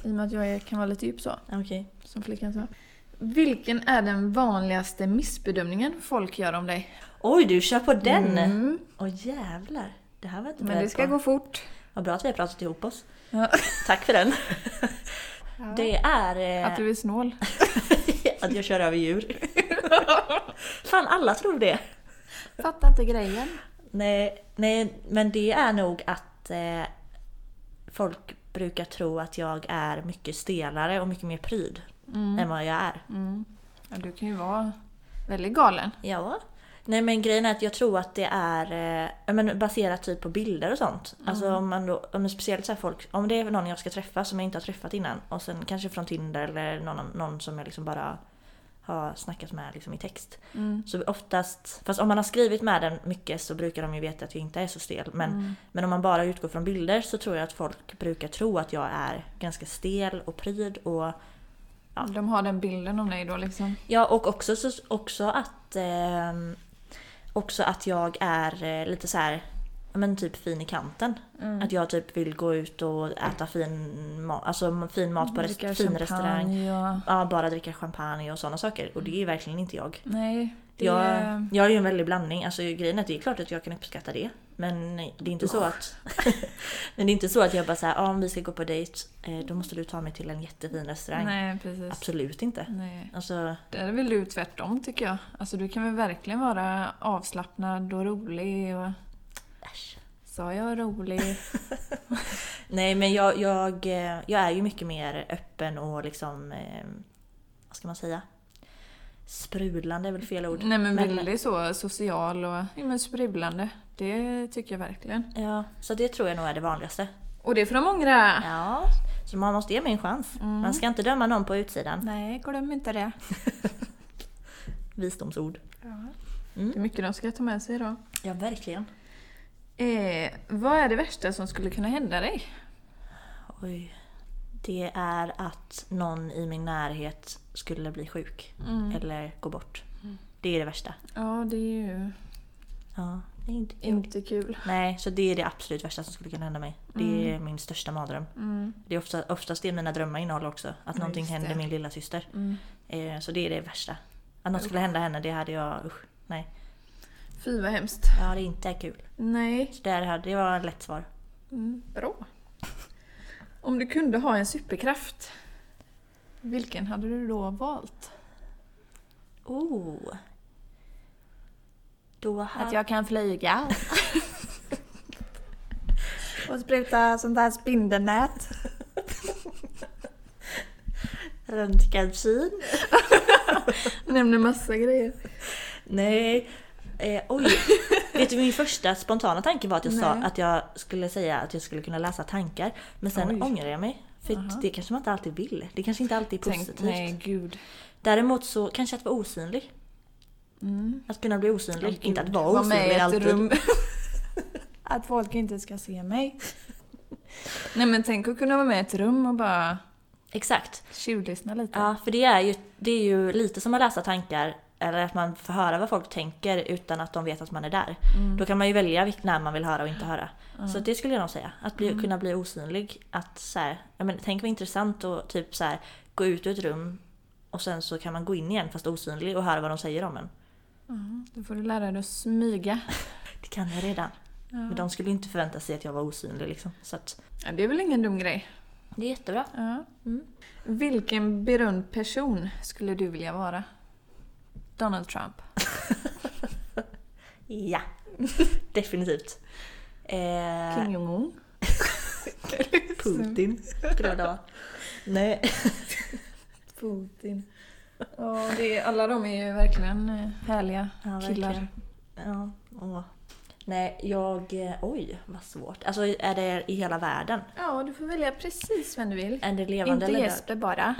I och med att jag är, kan vara lite djup så,
Ja, Okej.
som flickan sa. Vilken är den vanligaste missbedömningen folk gör om dig?
Oj, du kör på den!
Mm.
Åh jävlar. Det här var jag inte
Men
beredd
det ska
på.
gå fort.
Vad bra att vi har pratat ihop oss.
Ja.
Tack för den. Det är... Eh,
Att du är snål.
att jag kör över djur. Fan, alla tror det.
Fattar inte grejen.
Nej, nej, men det är nog att eh, folk brukar tro att jag är mycket stelare och mycket mer pryd än vad jag är.
Mm. Ja, du kan ju vara väldigt galen.
Ja. Nej men grejen är att jag tror att det är eh, ja, men baserat typ på bilder och sånt. Alltså om man då, om det är speciellt så här folk, om det är någon jag ska träffa som jag inte har träffat innan och sen kanske från Tinder eller någon, någon som jag liksom bara har snackat med liksom i text.
Mm.
Så oftast, fast om man har skrivit med den mycket så brukar de ju veta att jag inte är så stel. Men, men om man bara utgår från bilder så tror jag att folk brukar tro att jag är ganska stel och pryd och Ja.
De har den bilden om dig då liksom.
Ja, och också, så- också att ehm, också att jag är eh, lite så här ja, men typ fin i kanten.
Mm.
Att jag typ vill gå ut och äta fin mat, alltså fin mat på rest,
Dricker
fin
champagne
restaurang.
och-
Ja, bara dricka champagne och sådana saker. Och det är ju verkligen inte jag.
Nej, det
Jag,
är...
jag är ju en väldig blandning. Alltså grejen är att det är klart att jag kan uppskatta det. Men det är inte
Oh.
så att... men det är inte så att jag bara säger ja om vi ska gå på dejt eh, då måste du ta mig till en jättefin restaurang.
Nej, precis.
Absolut inte.
Nej.
Alltså,
Där är väl du tvärtom tycker jag. Alltså du kan väl verkligen vara avslappnad och rolig och...
äsch.
Sa jag rolig?
Nej men jag, jag, eh, jag är ju mycket mer öppen och liksom, eh, vad ska man säga? Sprudlande är väl fel ord.
Nej men
Men-
väldigt så social och ja, men sprudlande. Det tycker jag verkligen.
Ja, så det tror jag nog är det vanligaste.
Och det får de ångra!
Ja, så man måste ge mig en chans.
Mm.
Man ska inte döma någon på utsidan.
Nej, glöm inte det.
Mm. Visdomsord. Mm.
Det är mycket de ska ta med sig idag.
Ja, verkligen.
Eh, vad är det värsta som skulle kunna hända dig?
Oj. Det är att någon i min närhet skulle bli sjuk. Eller gå bort. Det är det värsta.
Mm. Ja, det är ju
Ja, det är inte kul.
inte kul.
Nej, så det är det absolut värsta som skulle kunna hända mig. Det
Mm.
är min största mardröm. Det är ofta, oftast det mina drömmar innehåller också. Att någonting
just
händer
det.
min lilla syster.
Mm.
Eh, så det är det värsta. Att något skulle hända henne, det hade jag... Usch, nej.
Fy vad hemskt.
Ja, det inte är kul.
Nej.
Så det, här, det var ett lätt svar.
Mm, bra. Om du kunde ha en superkraft, vilken hade du då valt?
Oh. Då hade...
jag kan flyga. Och spruta sånt där spindelnät.
Röntgensyn.
Nämner massa grejer.
Nej. Eh, oj. Vet du min första spontana tanke var att jag sa
Nej.
att jag skulle säga att jag skulle kunna läsa tankar. Men sen
Oj.
ångrar jag mig. För
Aha.
det kanske man inte alltid vill. Det kanske inte alltid är positivt.
Tänk, nej gud.
Däremot så kanske att vara osynlig.
Mm.
Att kunna bli osynlig.
Gud.
inte att vara
Var
osynlig
med i ett
alltid.
rum. att folk inte ska se mig. Nej men tänk att kunna vara med i ett rum och bara
Exakt.
tjuvlyssna lite.
Ja, för det är, ju, det är ju lite som att läsa tankar. Eller att man får höra vad folk tänker utan att de vet att man är där.
Mm.
Då kan man ju välja vilk- när man vill höra och inte höra. Så det skulle jag nog säga. Att bli, kunna bli osynlig. Att så här, ja, men, tänk vad intressant att typ så här, gå ut ur ett rum och sen så kan man gå in igen fast osynlig och höra vad de säger om en.
Då får du lära dig att smyga.
Det kan jag redan. Men de skulle ju inte förvänta sig att jag var osynlig liksom. Så att,
Ja, det är väl ingen dum grej?
det är jättebra.
Ja. Vilken berömd person skulle du vilja vara? Donald Trump.
Ja, definitivt. Eh,
Kim Jong-Un.
Putin skulle det vara. Nej.
Putin. Ja, det är, alla de är ju verkligen eh, härliga
Ja,
killar.
verkligen. Ja, åh. Nej, jag... eh, Oj, vad svårt. Alltså är det i hela världen?
Ja, du får välja precis vem du vill.
Är det levande
Inte
eller död?
Jesper bara.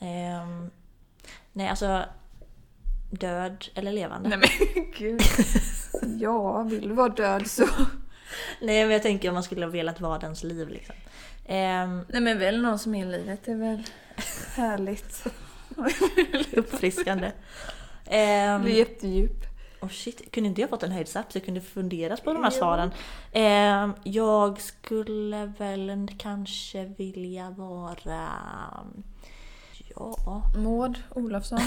Ehm, nej, alltså... Död eller levande? Nej.
Nej men gud. Ja, vill du vara död så...
men jag tänker om man skulle ha velat vara dens liv liksom. Ehm,
Nej men väl någon som är i livet är väl härligt.
uppfriskande. Ehm,
Blir jättedjup.
Oh shit, kunde inte jag fått en höjdsapp så jag kunde funderat på de här svaren? Ehm, jag skulle väl kanske vilja vara... Ja,
Maud Olofsson.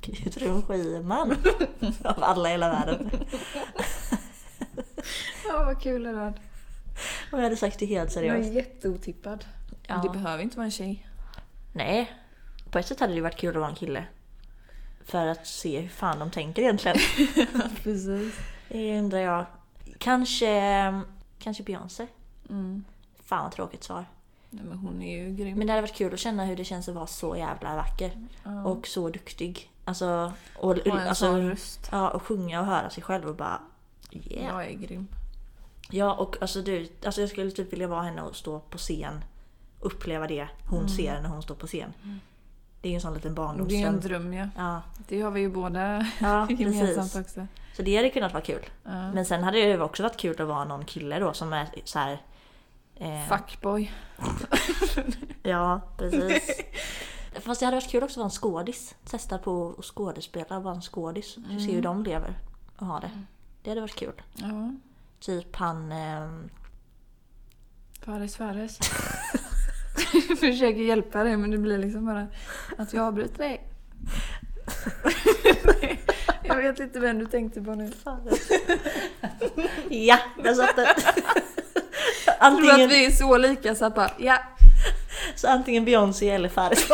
Gudrun Schyman. Av alla i hela världen.
Ja, vad kul det där.
Och jag hade sagt det helt
Det var
seriöst.
jätteotippad.
Ja.
Det behöver inte vara en tjej.
Nej, på ett sätt hade det varit kul att vara en kille. För att se hur fan de tänker egentligen.
Precis.
Det undrar jag. Kanske, kanske Beyoncé?
Mm.
Fan vad tråkigt svar.
Nej, men hon är ju grym.
Men det hade varit kul att känna hur det känns att vara så jävla vacker.
Ja.
Och så duktig. Alltså, och,
Mm. Och en
alltså,
sån röst.
ja, och sjunga och höra sig själv och bara yeah.
Jag är grym.
Ja, och alltså du, alltså jag skulle typ vilja vara henne och stå på scen. Uppleva det hon ser när hon står på scen. Det är ju en sån liten
Mm. Det är ju en
barndomsdröm.
dröm ja.
Ja,
Det har vi ju båda
ja
gemensamt
precis.
också.
Så det hade kunnat vara kul.
Ja.
Men sen hade det ju också varit kul att vara någon kille då som är så här. eh,
Fuckboy.
Ja, precis. Fast det hade varit kul också att vara en skådis. Testa på att skådespela och vara en skådis. Mm. Se hur de lever och har
Mm.
det. Det hade varit kul.
Ja.
Typ han... ehm,
Fares Fares. jag försöker hjälpa dig men det blir liksom bara att jag avbryter dig. jag vet inte vem du tänkte på nu.
ja, där satt den!
Jag tror att
antingen,
vi är så lika så att bara, ja.
så antingen Beyoncé eller Fares.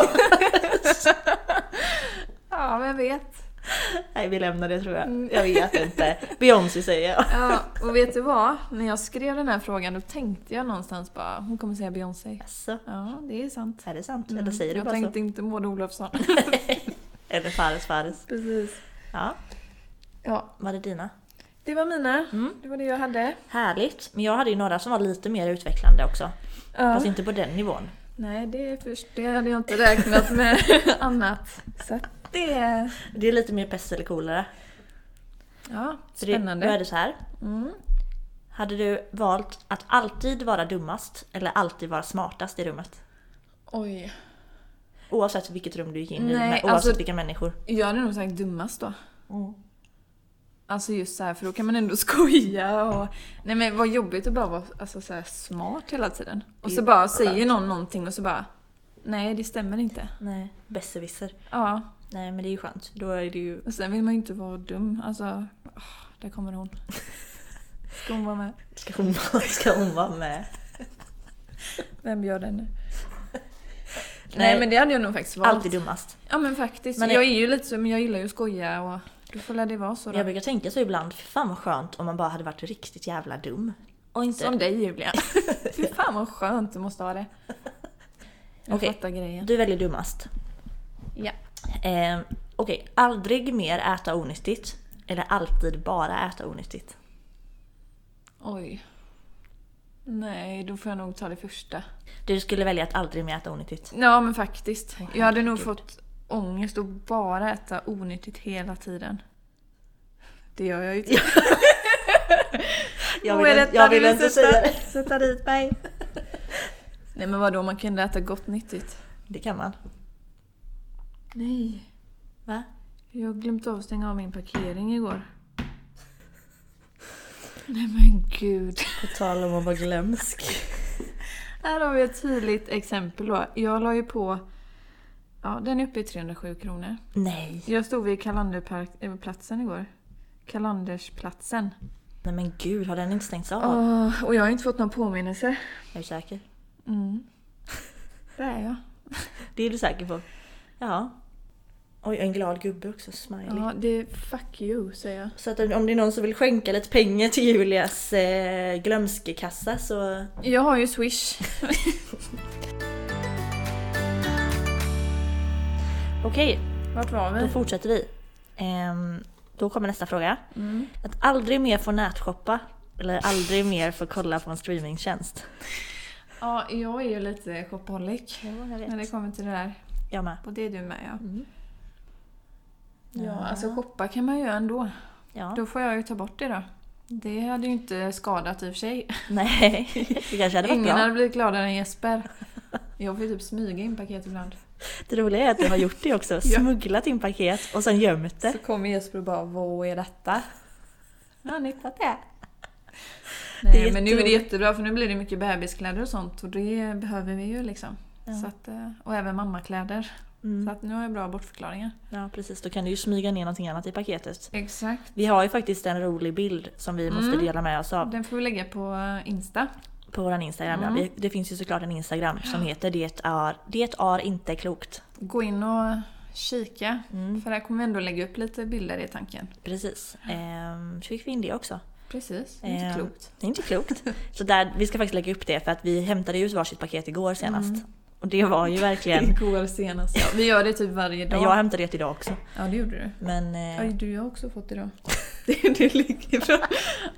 Ja, vem vet.
Nej, vi lämnar det tror
Mm.
jag. Jag vet inte. Beyoncé säger jag.
Ja, och vet du vad? När jag skrev den här frågan då tänkte jag någonstans bara, hon kommer säga Beyoncé.
Alltså,
Ja, det är sant.
är det sant? Eller säger
Mm.
du
jag
bara
tänkte
så?
inte Maud Olofsson.
Eller Fares Fares.
Precis.
Ja,
Ja,
vad är dina?
det var mina.
Mm.
Det var det jag hade.
Härligt. Men jag hade ju några som var lite mer utvecklande också.
Ja.
Fast inte på den nivån.
Nej, det, är först, det hade jag inte räknat med annat. Så att det...
Det är lite mer pest eller kolera.
Ja,
För det- Då är
spännande.
det så här. Mm. Hade du valt att alltid vara dummast eller alltid vara smartast i rummet?
Oj.
Oavsett vilket rum du gick in i,
Nej,
men oavsett
alltså-
vilka människor.
Jag hade nog sagt dummast då.
Mm.
Alltså just så här, för då kan man ändå skoja och... Nej men vad jobbigt att bara vara alltså, så här, smart hela tiden. Och
Det
så
är
bara
skönt.
säger någon någonting och så bara... Nej, det stämmer inte.
Nej, besserwisser.
Ja.
Nej men det är ju skönt. Då är det ju...
Och sen vill man ju inte vara dum. Alltså, åh, där kommer hon. Ska hon vara med?
Ska hon, vara- ska hon vara med?
Vem bjöd henne?
Nej.
Nej, men det hade jag nog faktiskt valt.
Alltid dummast.
Ja men faktiskt.
Men
jag är ju lite så, men jag gillar ju att skoja och då får väl det vara så då.
Jag brukar tänka så ibland, fy fan vad skönt om man bara hade varit riktigt jävla dum. Och inte...
Som dig Julia. Fy fan vad skönt du måste ha det. Jag
Okej.
fattar grejen.
Du väljer dummast.
Ja.
Eh, Okej, aldrig mer äta onyttigt. Eller alltid bara äta onyttigt.
Oj. Nej, då får jag nog ta det första.
Du skulle välja att aldrig mer äta onyttigt.
Ja men faktiskt.
Åh,
jag hade nog
herregud.
fått ångest att bara äta onyttigt hela tiden. Det gör jag ju typ. inte.
Jag
Åh,
vill,
är
jag vill
du
inte
sätta-
säga det.
Sätta dit mig. Nej men vadå, man kunde äta gott nyttigt.
Det kan man.
Nej.
Va?
Jag har glömt av att stänga av min parkering igår. Nej men gud.
På tal om att vara glömsk.
Här har vi ett tydligt exempel då. Jag la ju på... Ja, den är uppe i 307 kronor.
Nej.
Jag stod vid Kalanderplatsen igår. Kalandersplatsen.
Nej men gud, har den inte stängts av?
Åh, och jag har inte fått någon påminnelse.
Är du säker?
Mm. Där är jag.
Det är du säker på? Ja. Oj, en glad gubbe också. Smiley.
Ja, det är fuck you säger jag.
Så att om det är någon som vill skänka lite pengar till Julias eh, glömskekassa så...
Jag har ju swish.
Okej,
Vart var
då
vi?
fortsätter vi. Ehm, då kommer nästa fråga. Att aldrig mer få nätshoppa eller aldrig mer få kolla på en streamingtjänst.
Ja, jag är ju lite shopaholic.
Ja, jag
När det kommer till det där.
Jag med.
Och det är du med ja.
Mm.
Ja, alltså shoppa kan man ju göra ändå.
Ja.
Då får jag ju ta bort det då. Det hade ju inte skadat i och för sig.
Nej, det kanske hade varit
Ingen
bra.
hade blivit gladare än Jesper. Jag får ju typ smyga in paket ibland.
Det roliga är att du har gjort det också. Smugglat in paket och sen gömt det.
Så kommer Jesper och bara Vad är detta? Jag har hittat det.
Det
Nej
är
men nu är det
jätteroligt.
jättebra för nu blir det mycket bebiskläder och sånt och det behöver vi ju liksom. Så att, eh, och även mammakläder. Så att nu har jag bra bortförklaringar.
Mm. Ja precis, då kan du ju smyga ner någonting annat i paketet.
Exakt.
Vi har ju faktiskt en rolig bild som vi måste
Mm.
dela med oss av
Den får vi lägga på eh, Insta.
på vår Instagram.
Mm.
Ja, det, det finns ju såklart en Instagram som heter det är, det är inte klokt. Mm.
Gå in och kika. För där kommer vi ändå lägga upp lite bilder i tanken.
Precis. Ehm, så fick vi in det också.
Precis, det är inte
Ehm,
klokt.
Det är inte klokt. Så där, vi ska faktiskt lägga upp det för att vi hämtade ju varsitt paket igår senast.
Mm.
Och det var ju verkligen...
Igår senast. Ja, vi gör det typ varje dag.
Jag hämtade det idag också.
Ja, det gjorde du.
Men eh,
Aj, du jag har också fått idag. Det, det ligger från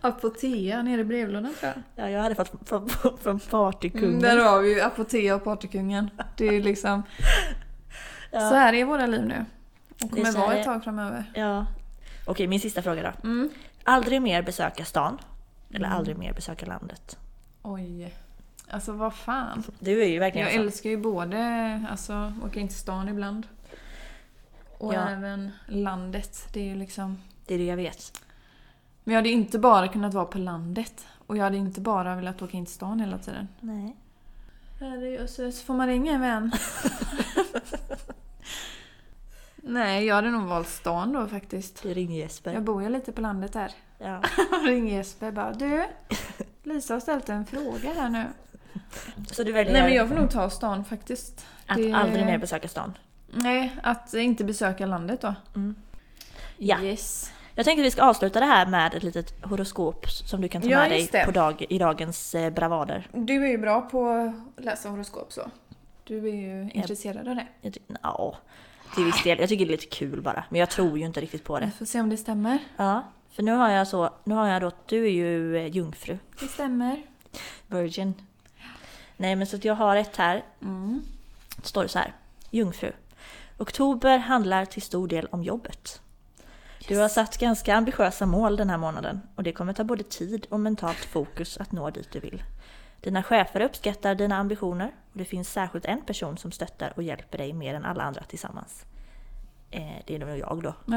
Apotea nere i brevlådan tror jag.
ja, jag hade fått från, från, från partykungen.
Mm, där har vi ju Apotea och Partykungen. Det är liksom...
Ja.
Så här är våra liv nu. Och
Det är
kommer
så här
vara
det-
ett tag framöver.
ja. Okej, min sista fråga då.
Mm.
Aldrig mer besöka stan. Eller aldrig mer besöka landet.
Oj. Alltså vad fan.
Du är ju verkligen
Jag
sån.
älskar ju både, alltså åka in till stan ibland. Och
Ja.
även landet. Det är ju liksom...
Det är det jag vet.
Men jag hade inte bara kunnat vara på landet. Och jag hade inte bara velat åka in till stan hela tiden.
Nej.
Herregud, och så så får man ringa en vän. Nej, jag hade nog valt stan då faktiskt.
Du ringer Jesper.
Jag bor ju lite på landet där.
Ja.
Ring Jesper bara du, Lisa har ställt en fråga här nu.
Så du väljer
Nej men jag får nog ta stan faktiskt.
att
Det-
aldrig mer besöka stan.
Nej, att inte besöka landet då.
Ja.
Mm. Yes.
Jag tänker att vi ska avsluta det här med ett litet horoskop som du kan ta
Ja,
med dig
just det.
på dag, i dagens eh, bravader.
Du är ju bra på att läsa horoskop så. Du är ju intresserad av det.
Jag ty- ja, till viss del. Jag tycker det är lite kul bara. Men jag tror ju inte riktigt på
Vi
det.
får se om det stämmer.
Ja, för nu har jag så, nu har jag då, du är ju eh, jungfru.
Det stämmer.
Virgin. Nej men så att jag har ett här.
Mm.
Det står det så här. Jungfru. Oktober handlar till stor del om jobbet. Du har satt ganska ambitiösa mål den här månaden och det kommer ta både tid och mentalt fokus att nå dit du vill. Dina chefer uppskattar dina ambitioner och det finns särskilt en person som stöttar och hjälper dig mer än alla andra tillsammans. Eh, det är nog jag då.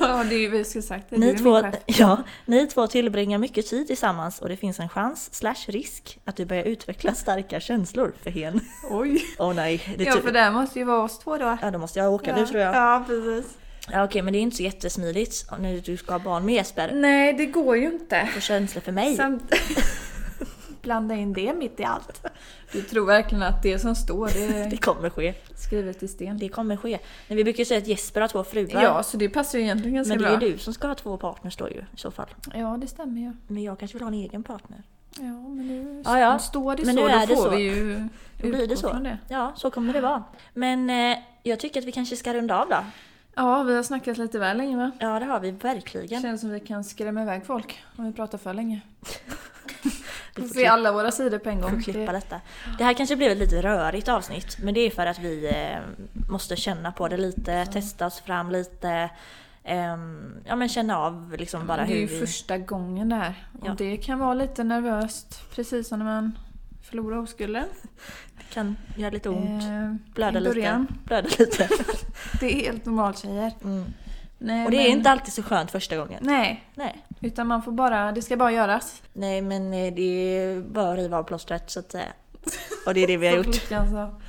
Ja, det är ju vi skulle sagt. Det är du
Ni
är
två,
min chef.
ja, ni två tillbringar mycket tid tillsammans och det finns en chans slash risk att du börjar utveckla starka känslor för hen.
Oj.
Åh nej, det är
Ja,
typ,
för det här måste ju vara oss två då.
ja, då måste jag åka nu tror jag.
Ja, precis.
Ja, okej, men det är inte så jättesmidigt när du ska ha barn med Jesper.
Nej, det går ju inte.
Få känslor för mig.
Samt... Blanda in det mitt i allt. Du tror verkligen att det som står det
Det
är
kommer ske.
skrivet i sten?
Det kommer ske. Men vi brukar ju säga att Jesper har två fruar.
Ja, så det passar ju egentligen ganska
men det
bra.
är du som ska ha två partners då ju i så fall.
Ja, det stämmer ju.
Men jag kanske vill ha en egen partner.
Ja, men nu
Ja, ja.
står det
Men
så,
nu är
då
det
får
så.
vi ju
Då blir det
utgå
så.
från det.
Ja, så kommer det vara. Men eh, jag tycker att vi kanske ska runda av då.
Ja, vi har snackat lite väl länge va?
Ja, det har vi
Det
verkligen.
känns som vi kan skrämma iväg folk om vi pratar för länge.
Vi
Vi
får
får se alla våra sidor på en
Vi
gång.
får klippa
Det-
detta. Det här kanske blev ett lite rörigt avsnitt, men det är för att vi eh, måste känna på det lite, testa oss fram lite. ehm, ja, men känna av liksom bara
det är
hur
ju
vi...
första gången det här. Och
Ja.
det kan vara lite nervöst, precis som när man förlorar oskulden.
Kan göra lite ont.
Eh,
Blöda
i
lite.
början.
Blöda lite. Mm.
Det är helt normalt tjejer. Nej,
Och det är
men-
inte alltid så skönt första gången.
Nej,
Nej.
utan man får bara, det ska bara göras.
Nej men eh, det är bara att riva av plåstret så att säga. Och det är det vi har
Som
gjort.
flickan sa.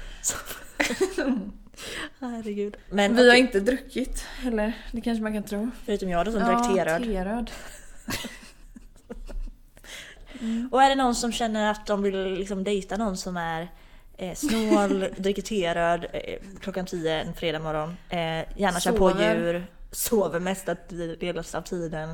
Herregud. Men
Vi har
okej,
inte druckit heller, det kanske man kan tro.
förutom jag då som drack teröd.
teröd. Mm.
Och är det någon som känner att de vill liksom dejta någon som är eh, snål, dricker teröd eh, klockan 10 en fredag morgon. Eh, gärna kör på
Sover.
djur. Sover mesta ti- delen av tiden.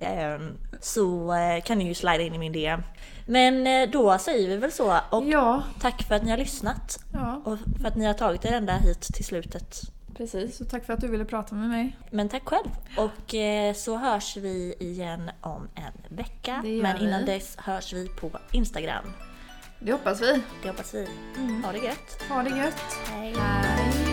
Eh, så eh, kan ni ju slida in i min DM. Men eh, då säger vi väl så. Och
Ja,
tack för att ni har lyssnat.
ja,
Och för att ni har tagit er ända hit till slutet.
precis. Och tack för att du ville prata med mig.
Men tack själv! Och eh, så hörs vi igen om en vecka.
Det gör
Men innan
vi.
dess hörs vi på Instagram.
Det hoppas vi.
Det hoppas vi. Ha det gött!
Ha det gött.
Hej!
Hej.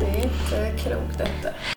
Det är inte klokt detta.